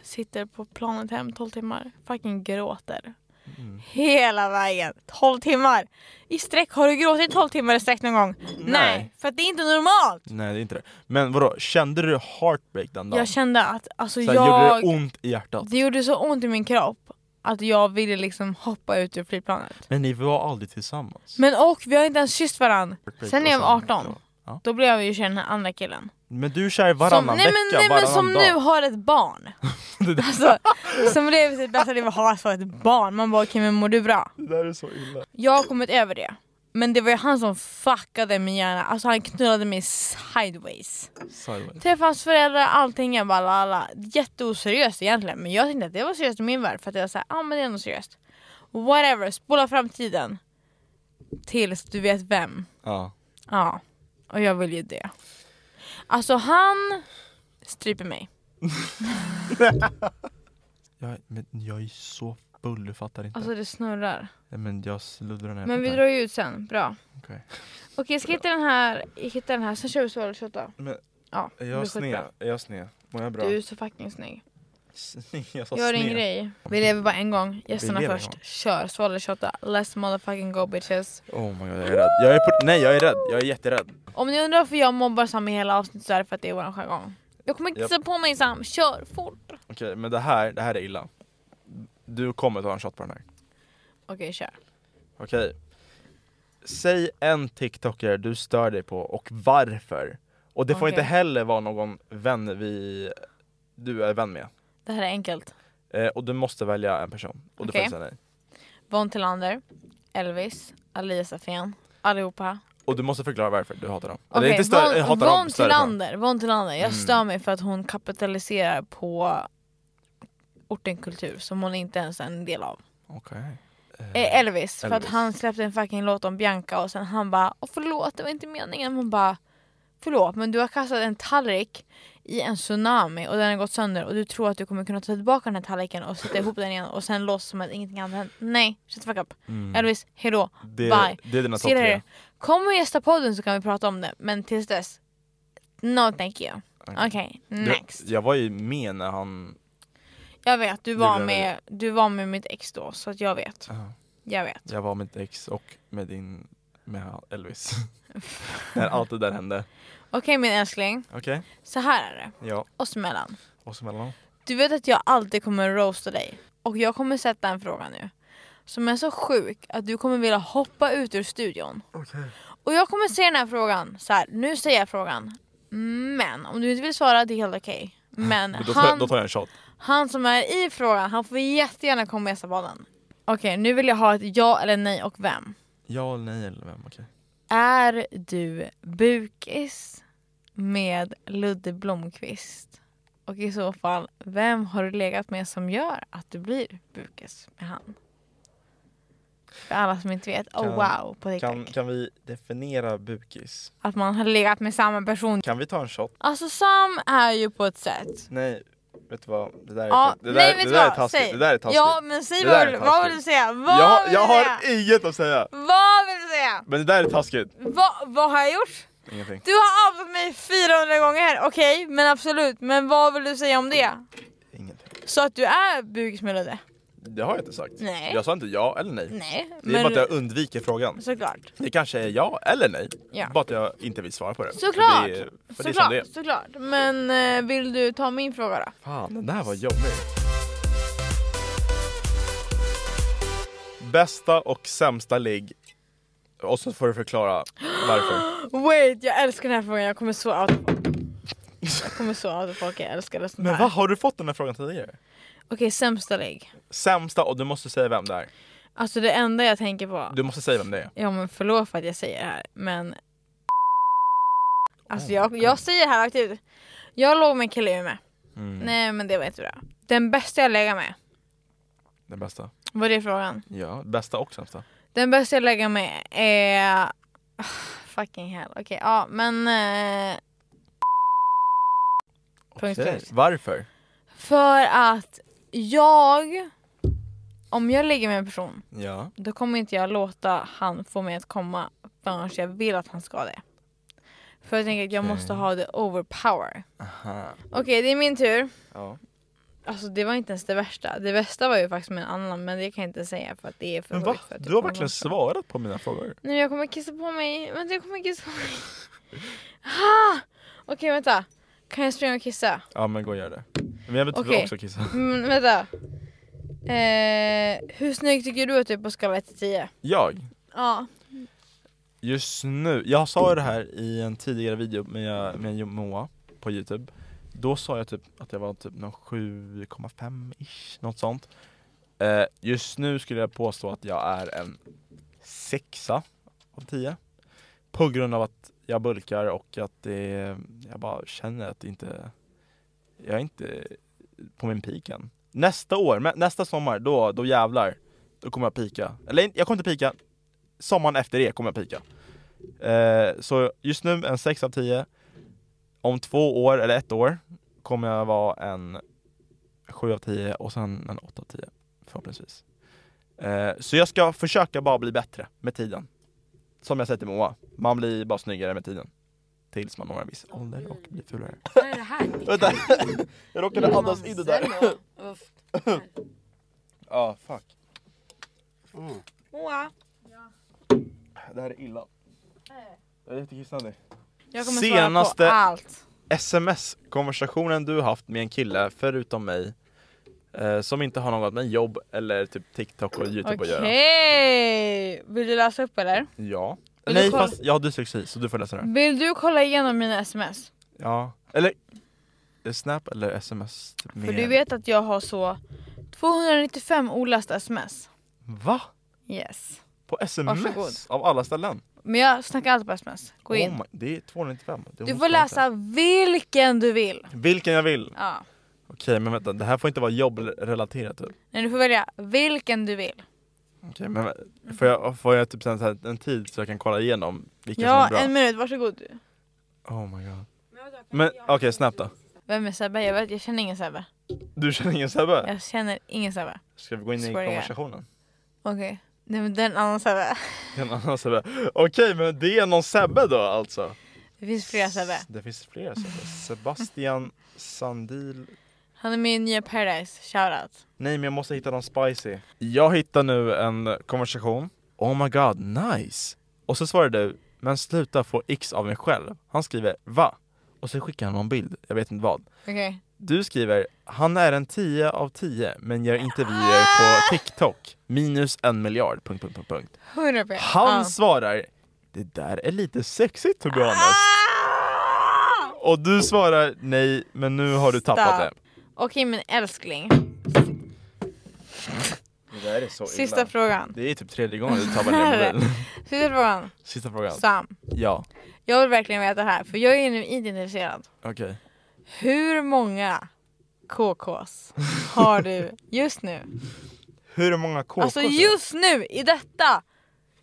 [SPEAKER 1] Sitter på planet hem 12 timmar. Fucking gråter.
[SPEAKER 2] Mm.
[SPEAKER 1] Hela vägen. 12 timmar! I sträck. Har du gråtit 12 timmar i sträck någon gång? Nej. för att det är inte normalt.
[SPEAKER 2] Nej, det är inte det. Men vadå, kände du heartbreak den dagen?
[SPEAKER 1] Jag kände att alltså
[SPEAKER 2] Såhär,
[SPEAKER 1] jag...
[SPEAKER 2] Gjorde det ont i hjärtat?
[SPEAKER 1] det gjorde så ont i min kropp att jag ville liksom hoppa ut ur flygplanet.
[SPEAKER 2] Men ni var aldrig tillsammans?
[SPEAKER 1] Men och vi har inte ens kysst varandra.
[SPEAKER 2] Heartbreak
[SPEAKER 1] Sen när jag
[SPEAKER 2] och
[SPEAKER 1] var 18,
[SPEAKER 2] Ja.
[SPEAKER 1] då blev jag ju kär i den här andra killen.
[SPEAKER 2] Men du är kär varannan
[SPEAKER 1] som, nej,
[SPEAKER 2] vecka,
[SPEAKER 1] men, nej, men
[SPEAKER 2] varannan
[SPEAKER 1] som
[SPEAKER 2] dag.
[SPEAKER 1] nu har ett barn.
[SPEAKER 2] Det där-
[SPEAKER 1] Alltså, som lever sitt bästa liv och har alltså ett barn. Man bara okej men mår du bra?
[SPEAKER 2] Det där är så illa.
[SPEAKER 1] Jag har kommit över det. Men det var ju han som fuckade min hjärna. Alltså han knullade mig sideways.
[SPEAKER 2] Sideways.
[SPEAKER 1] Träffade hans föräldrar, allting. Jag bara la, la. Jätteoseriöst egentligen. Men jag tänkte att det var seriöst i min värld. För att jag var såhär, ja ah, men det är ändå seriöst. Whatever, spola framtiden. Tills du vet vem.
[SPEAKER 2] Ja.
[SPEAKER 1] Ja. Och jag vill ju det. Alltså han stryper mig.
[SPEAKER 2] Jag, men jag är så bull, du fattar inte.
[SPEAKER 1] Alltså det snurrar.
[SPEAKER 2] Nej, men jag sluddrar ner
[SPEAKER 1] Men vi drar ju ut sen, bra.
[SPEAKER 2] Okej.
[SPEAKER 1] Okej, jag ska hitta den här, jag hittar den här, sen kör vi swallow shot då.
[SPEAKER 2] Men-
[SPEAKER 1] ja, det
[SPEAKER 2] Är
[SPEAKER 1] blir
[SPEAKER 2] jag sned?
[SPEAKER 1] skitbra.
[SPEAKER 2] Är jag sned? Mår jag bra?
[SPEAKER 1] Du är så fucking snygg.
[SPEAKER 2] Sned, jag sa
[SPEAKER 1] Gör din
[SPEAKER 2] sned.
[SPEAKER 1] grej. Vi lever bara en gång, gästerna
[SPEAKER 2] lever en
[SPEAKER 1] först.
[SPEAKER 2] gång.
[SPEAKER 1] Kör, swallow shotta. Let's motherfucking go bitches.
[SPEAKER 2] Oh my god, jag är rädd. Jag är på... Nej, jag är rädd. Jag är jätterädd.
[SPEAKER 1] Om ni undrar varför jag mobbar Sam i hela avsnittet så är det för att det är våran jargong. Jag kommer inte
[SPEAKER 2] Japp.
[SPEAKER 1] yep. på mig Sam, kör fort! Okej,
[SPEAKER 2] Okej, men det här, det här är illa. Du kommer ta en shot på den här.
[SPEAKER 1] kör.
[SPEAKER 2] Okej. Säg en TikToker du stör dig på och varför. Och det får
[SPEAKER 1] Okej.
[SPEAKER 2] inte heller vara någon vän vi, du är vän med.
[SPEAKER 1] Det här är enkelt.
[SPEAKER 2] Eh, och du måste välja en person. Och du får
[SPEAKER 1] Okej.
[SPEAKER 2] inte säga nej.
[SPEAKER 1] Von Tillander, Elvis, Alias Afén, allihopa.
[SPEAKER 2] Och du måste förklara varför du hatar dem. Eller
[SPEAKER 1] Okej,
[SPEAKER 2] inte stör, jag
[SPEAKER 1] Von,
[SPEAKER 2] hatar dem, Mm.
[SPEAKER 1] Von,
[SPEAKER 2] stör dig på dem.
[SPEAKER 1] Tillander, Von Tillander, jag stör mig för att hon kapitaliserar på orten kultur som hon inte ens är en del av.
[SPEAKER 2] Okej.
[SPEAKER 1] Eh, Elvis, för att
[SPEAKER 2] Elvis.
[SPEAKER 1] han släppte en fucking låt om Bianca och sen han bara Åh förlåt, det var inte meningen. Man bara Förlåt, men du har kastat en tallrik i en tsunami och den har gått sönder och du tror att du kommer kunna ta tillbaka den här tallriken och sätta ihop den igen och sen låtsas som att ingenting har hänt. Nej, shut the fuck up.
[SPEAKER 2] Mm.
[SPEAKER 1] Elvis, hejdå.
[SPEAKER 2] Det,
[SPEAKER 1] Bye.
[SPEAKER 2] det är dina topp
[SPEAKER 1] Ser
[SPEAKER 2] tre.
[SPEAKER 1] det? Kom och gästa podden så kan vi prata om det, men tills dess No thank you. Okej,
[SPEAKER 2] Du-
[SPEAKER 1] next.
[SPEAKER 2] Jag var ju med när han...
[SPEAKER 1] Jag vet, du
[SPEAKER 2] blev
[SPEAKER 1] var,
[SPEAKER 2] det.
[SPEAKER 1] med, du var med mitt ex då, så att jag vet.
[SPEAKER 2] Ja.
[SPEAKER 1] Jag vet.
[SPEAKER 2] Jag var med ditt ex och med din... Med Elvis. när allt det där hände.
[SPEAKER 1] Okej min älskling,
[SPEAKER 2] Okej.
[SPEAKER 1] så här är det.
[SPEAKER 2] Ja.
[SPEAKER 1] oss emellan.
[SPEAKER 2] Oss emellan.
[SPEAKER 1] Du vet att jag alltid kommer roasta dig. Och jag kommer sätta en fråga nu. Som är så sjuk att du kommer vilja hoppa ut ur studion. Och jag kommer se den här frågan så här. nu säger jag frågan. Men om du inte vill svara, det är helt okej. Men
[SPEAKER 2] Då tar,
[SPEAKER 1] han,
[SPEAKER 2] då tar jag en shot.
[SPEAKER 1] han som är i frågan, han får jättegärna komma med podden. Okej, nu vill jag ha ett ja eller nej och vem.
[SPEAKER 2] Ja eller nej eller vem? Okej.
[SPEAKER 1] Är du bukis med Ludde Blomqvist? Och i så fall, vem har du legat med som gör att du blir bukis med han? För alla som inte vet, oh
[SPEAKER 2] Kan-
[SPEAKER 1] wow på TikTok.
[SPEAKER 2] Kan, kan vi definiera bukis?
[SPEAKER 1] Att man har legat med samma person.
[SPEAKER 2] Kan vi ta en shot?
[SPEAKER 1] Alltså Sam är ju på ett sätt.
[SPEAKER 2] Nej, vet du vad? Det där är,
[SPEAKER 1] Ja,
[SPEAKER 2] det där,
[SPEAKER 1] nej vet
[SPEAKER 2] det
[SPEAKER 1] du
[SPEAKER 2] där är
[SPEAKER 1] vad?
[SPEAKER 2] taskigt.
[SPEAKER 1] Säg.
[SPEAKER 2] Det där är taskigt.
[SPEAKER 1] Ja men säg
[SPEAKER 2] Det
[SPEAKER 1] vad,
[SPEAKER 2] där är
[SPEAKER 1] vill- vad vill du
[SPEAKER 2] taskigt.
[SPEAKER 1] säga? Vad
[SPEAKER 2] jag har-
[SPEAKER 1] vill
[SPEAKER 2] jag
[SPEAKER 1] du
[SPEAKER 2] har
[SPEAKER 1] säga?
[SPEAKER 2] inget att säga!
[SPEAKER 1] Vad vill du säga?
[SPEAKER 2] Men det där är taskigt.
[SPEAKER 1] Vad- vad har jag gjort?
[SPEAKER 2] Ingenting.
[SPEAKER 1] Du har outat mig 400 gånger, okej, men absolut. Men vad vill du säga om det?
[SPEAKER 2] Ingenting.
[SPEAKER 1] Så att du är bugis med Ludde?
[SPEAKER 2] Det har jag inte sagt.
[SPEAKER 1] Nej.
[SPEAKER 2] Jag sa inte ja eller nej.
[SPEAKER 1] Nej,
[SPEAKER 2] Det är bara att jag undviker frågan.
[SPEAKER 1] såklart.
[SPEAKER 2] Det kanske är ja eller nej.
[SPEAKER 1] Ja.
[SPEAKER 2] Bara att jag inte vill svara på det.
[SPEAKER 1] Såklart!
[SPEAKER 2] För det, är- för det är som
[SPEAKER 1] såklart,
[SPEAKER 2] det är.
[SPEAKER 1] såklart. Men eh, vill du ta min fråga då?
[SPEAKER 2] Fan, den där var jobbig. Bästa och sämsta ligg. Och så får du förklara varför.
[SPEAKER 1] Wait, jag älskar den här frågan, jag kommer så outa folk. Jag kommer så outa folk, jag älskar det sånt
[SPEAKER 2] Men
[SPEAKER 1] här.
[SPEAKER 2] vad har du fått den här frågan tidigare?
[SPEAKER 1] Okej, sämsta lägg.
[SPEAKER 2] Sämsta och du måste säga vem det är.
[SPEAKER 1] Alltså det enda jag tänker på,
[SPEAKER 2] Du måste säga vem det är.
[SPEAKER 1] ja men förlåt för att jag säger det här, men...
[SPEAKER 2] Oh
[SPEAKER 1] Alltså jag, jag säger det här rakt ut. Jag låg med en kille i Umeå.
[SPEAKER 2] Mm.
[SPEAKER 1] Nej men det var inte bra. Den bästa jag lägger med,
[SPEAKER 2] Den bästa.
[SPEAKER 1] var det frågan?
[SPEAKER 2] Ja, bästa och sämsta.
[SPEAKER 1] Den bästa jag lägger med är... Ah, Fucking hell. Okej, ja men... Eh... Punkt
[SPEAKER 2] Okej,
[SPEAKER 1] slut.
[SPEAKER 2] Varför?
[SPEAKER 1] För att jag... Om jag ligger med en person,
[SPEAKER 2] Ja.
[SPEAKER 1] då kommer inte jag låta han få mig att komma förrän jag vill att han ska det. För jag tänker att jag måste ha det overpower.
[SPEAKER 2] Aha.
[SPEAKER 1] Okej, det är min tur.
[SPEAKER 2] Ja.
[SPEAKER 1] Alltså det var inte ens det värsta. Det värsta var ju faktiskt med en annan, men det kan jag inte säga för att det typ, är för
[SPEAKER 2] Men va?
[SPEAKER 1] roligt för att det
[SPEAKER 2] Du
[SPEAKER 1] kommer
[SPEAKER 2] har verkligen
[SPEAKER 1] långt fram.
[SPEAKER 2] svarat på mina frågor.
[SPEAKER 1] Nej men jag kommer kissa på mig. Vänta jag kommer kissa på mig. Ah! Okej vänta. Kan jag springa och kissa?
[SPEAKER 2] Ja men gå och gör det. Men jag vill typ
[SPEAKER 1] Okej.
[SPEAKER 2] också kissa.
[SPEAKER 1] Mm, vänta. Eh, hur snygg tycker du att du är på skala 1 till 10?
[SPEAKER 2] Jag?
[SPEAKER 1] Ja.
[SPEAKER 2] Just nu, jag sa ju det här i en tidigare video med, med Moa på youtube Då sa jag typ att jag var typ någon 7,5-ish, något sånt eh, Just nu skulle jag påstå att jag är en sexa av 10 På grund av att jag bulkar och att det, jag bara känner att det inte, jag är inte på min peak än Nästa år, men nästa sommar, då, då jävlar, då kommer jag pika Eller jag kommer inte pika, sommaren efter det kommer jag pika. Eh, så just nu en 6 av 10. Om två år eller ett år kommer jag vara en 7 av 10 och sen en 8 av 10 förhoppningsvis. Eh, så jag ska försöka bara bli bättre med tiden. Som jag säger till Moa, man blir bara snyggare med tiden. Tills man når en viss ålder och blir fulare.
[SPEAKER 6] Vad är det här?
[SPEAKER 2] Vänta, jag råkade andas in det där.
[SPEAKER 6] Uff.
[SPEAKER 2] Ja, fuck.
[SPEAKER 4] Moa.
[SPEAKER 2] Det här är illa. Jag är jättekissnödig.
[SPEAKER 1] Jag kommer
[SPEAKER 2] Senaste-
[SPEAKER 1] svara på allt.
[SPEAKER 2] sms-konversationen du haft med en kille förutom mig eh, som inte har något med jobb eller typ TikTok och Youtube att göra?
[SPEAKER 1] Okej! Vill du läsa upp eller?
[SPEAKER 2] Ja.
[SPEAKER 1] Vill
[SPEAKER 2] Nej
[SPEAKER 1] du kolla- Mm.
[SPEAKER 2] fast jag har dyslexi så du får läsa den.
[SPEAKER 1] Vill du kolla igenom mina sms?
[SPEAKER 2] Ja. Eller eh, Snap eller sms? Typ
[SPEAKER 1] För
[SPEAKER 2] mer.
[SPEAKER 1] du vet att jag har så 295 olästa sms.
[SPEAKER 2] Va?
[SPEAKER 1] Yes.
[SPEAKER 2] På sms?
[SPEAKER 1] Varsågod.
[SPEAKER 2] Av alla ställen?
[SPEAKER 1] Men jag snackar alltid på sms. Gå
[SPEAKER 2] Oh
[SPEAKER 1] in.
[SPEAKER 2] my, det är 295. Det
[SPEAKER 1] Du
[SPEAKER 2] måste
[SPEAKER 1] får
[SPEAKER 2] jag
[SPEAKER 1] läsa vilken du vill.
[SPEAKER 2] Vilken jag vill.
[SPEAKER 1] Ja.
[SPEAKER 2] Okej men vänta, det här får inte vara jobbrelaterat typ.
[SPEAKER 1] Nej, du får välja vilken du vill.
[SPEAKER 2] Okej men vä- får jag, får jag typ sen så här en tid så jag kan kolla igenom vilken som är
[SPEAKER 1] Ja,
[SPEAKER 2] bra?
[SPEAKER 1] en minut. Varsågod.
[SPEAKER 2] Oh my god. Men okej, snabbt då.
[SPEAKER 1] Vem är Sebbe? Jag, vet, jag känner ingen Sebbe.
[SPEAKER 2] Du känner ingen Sebbe?
[SPEAKER 1] Jag känner ingen Sebbe.
[SPEAKER 2] Ska vi gå in i
[SPEAKER 1] Swear to God.
[SPEAKER 2] konversationen?
[SPEAKER 1] Okej. Nej men den annan Sebbe.
[SPEAKER 2] Det är en annan Sebbe. Okej, men det är någon Sebbe då alltså?
[SPEAKER 1] Det finns flera Sebbe.
[SPEAKER 2] Det finns flera Sebbe. Sebastian Sandil.
[SPEAKER 1] Han är med i nya Paradise. Shoutout.
[SPEAKER 2] Nej, men jag måste hitta någon spicy. Jag hittar nu en konversation. Oh my god, nice! Och så svarar du, men sluta få x av mig själv. Han skriver, va? Och så skickar han någon bild, jag vet inte vad.
[SPEAKER 1] Okej.
[SPEAKER 2] Du skriver, han är en 10 av 10 men gör intervjuer på TikTok. Minus en miljard, punkt, punkt, punkt, punkt.
[SPEAKER 1] 100 p.
[SPEAKER 2] Han
[SPEAKER 1] Ja. Ah!
[SPEAKER 2] svarar Det där är lite sexigt to be honest. Och du svarar nej men nu har du tappat det.
[SPEAKER 1] Stop. Okej men älskling.
[SPEAKER 2] Det där är så
[SPEAKER 1] Sista frågan.
[SPEAKER 2] Det är typ tredje gången du tappar ner mobilen.
[SPEAKER 1] Sista frågan.
[SPEAKER 2] Sista frågan.
[SPEAKER 1] Sam.
[SPEAKER 2] Ja,
[SPEAKER 1] Jag vill verkligen veta det här för jag är nu inte intresserad.
[SPEAKER 2] okej.
[SPEAKER 1] Hur många KKs har du just nu?
[SPEAKER 2] Hur många KKs?
[SPEAKER 1] Alltså just nu i detta.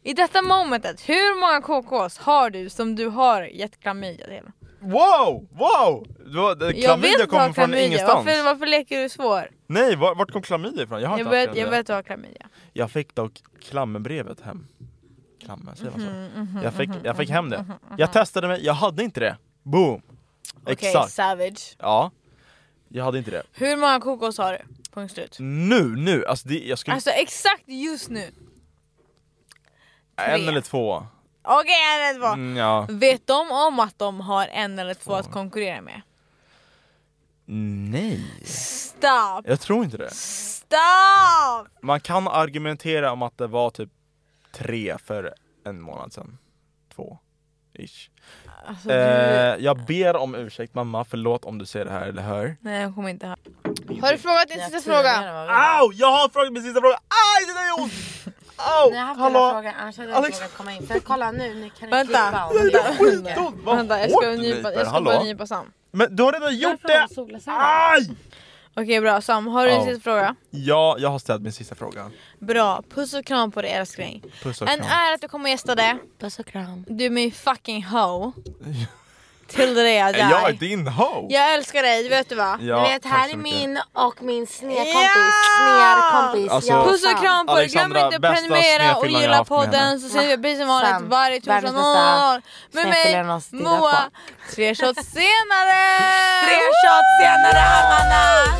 [SPEAKER 1] I detta momentet. Hur många KKs har du som du har gett klamydia till?
[SPEAKER 2] Wow! Wow! Det var, det,
[SPEAKER 1] Jag vet
[SPEAKER 2] Eh, klamydia
[SPEAKER 1] att du har
[SPEAKER 2] kommer från
[SPEAKER 1] klamydia.
[SPEAKER 2] ingenstans.
[SPEAKER 1] Varför, varför leker du svår?
[SPEAKER 2] Nej, var, vart kom klamydia ifrån? Jag har
[SPEAKER 1] Jag
[SPEAKER 2] inte haft
[SPEAKER 1] vet, jag
[SPEAKER 2] klamydia.
[SPEAKER 1] vet att du har klamydia.
[SPEAKER 2] Jag fick dock klammerbrevet hem. Klammer, säger man så?
[SPEAKER 1] Mm,
[SPEAKER 2] jag, fick, jag fick hem det. Jag testade mig, jag hade inte det. Boom!
[SPEAKER 1] Okej,
[SPEAKER 2] Exakt.
[SPEAKER 1] savage.
[SPEAKER 2] Ja. Jag hade inte det.
[SPEAKER 1] Hur många KKs har du? Punkt slut.
[SPEAKER 2] Nu, nu! Alltså det, jag skulle...
[SPEAKER 1] Alltså exakt just nu.
[SPEAKER 2] en
[SPEAKER 1] tre.
[SPEAKER 2] eller två.
[SPEAKER 1] Okej, en eller två.
[SPEAKER 2] Mm, ja.
[SPEAKER 1] Vet de om att de har en eller två att konkurrera med?
[SPEAKER 2] Nej.
[SPEAKER 1] Stop!
[SPEAKER 2] Jag tror inte det.
[SPEAKER 1] Stop!
[SPEAKER 2] Man kan argumentera om att det var typ tre för en månad sedan. Två. Ish.
[SPEAKER 1] Alltså,
[SPEAKER 2] Eh,
[SPEAKER 1] du...
[SPEAKER 2] jag ber om ursäkt mamma, förlåt om du ser det här eller hör.
[SPEAKER 1] Nej, jag kommer inte ha. Har du frågat din sista fråga?
[SPEAKER 2] Au! Jag har frågat min sista fråga! Aj, det där gör ont! Au!
[SPEAKER 6] Ni har haft den här
[SPEAKER 2] Hallå!
[SPEAKER 6] frågan, annars hade den
[SPEAKER 2] Alex.
[SPEAKER 6] frågan kommit in. För kolla nu, ni kan
[SPEAKER 1] Vänta.
[SPEAKER 6] klippa om
[SPEAKER 2] Det
[SPEAKER 6] ni gör
[SPEAKER 2] är skitont! Vad
[SPEAKER 1] Vänta, jag
[SPEAKER 2] hårt
[SPEAKER 1] ska,
[SPEAKER 2] du
[SPEAKER 1] nypa,
[SPEAKER 2] nyper.
[SPEAKER 1] jag ska bara
[SPEAKER 2] Hallå?
[SPEAKER 1] nypa Sam.
[SPEAKER 2] Men du har redan gjort det! Ah.
[SPEAKER 6] solglasögon.
[SPEAKER 2] Aj!
[SPEAKER 1] Okej bra, Sam har du din
[SPEAKER 2] Ja.
[SPEAKER 1] sista fråga?
[SPEAKER 2] Ja, jag har ställt min sista fråga.
[SPEAKER 1] Bra, puss och kram på dig älskling.
[SPEAKER 2] Puss och
[SPEAKER 1] En
[SPEAKER 2] kram.
[SPEAKER 1] ära att du kom och gästade,
[SPEAKER 6] Puss och kram.
[SPEAKER 1] du är min fucking hoe. Till det jag
[SPEAKER 2] Är Jag är
[SPEAKER 1] dör.
[SPEAKER 2] din ho!
[SPEAKER 1] Jag älskar dig, det vet du va?
[SPEAKER 2] Ja,
[SPEAKER 6] Ni vet,
[SPEAKER 2] tack
[SPEAKER 6] här
[SPEAKER 2] så
[SPEAKER 6] är
[SPEAKER 2] mycket.
[SPEAKER 6] min och min snekompis.
[SPEAKER 1] Ja!
[SPEAKER 6] Snerkompis.
[SPEAKER 2] Alltså-
[SPEAKER 6] ja,
[SPEAKER 1] Puss och
[SPEAKER 6] fan.
[SPEAKER 1] kram på er, glöm
[SPEAKER 2] Alexandra,
[SPEAKER 1] inte att
[SPEAKER 2] bästa
[SPEAKER 1] prenumerera och
[SPEAKER 2] snedfyllan jag har
[SPEAKER 1] gilla
[SPEAKER 2] haft med
[SPEAKER 1] podden
[SPEAKER 2] henne.
[SPEAKER 1] så ses vi precis som vanligt
[SPEAKER 6] Sam,
[SPEAKER 1] varje torsdag
[SPEAKER 6] världens bästa
[SPEAKER 1] 00 med mig
[SPEAKER 6] snedfyllan att stirra
[SPEAKER 1] Moa,
[SPEAKER 6] på.
[SPEAKER 1] tre shots senare!
[SPEAKER 6] Tre shots senare, Amanda!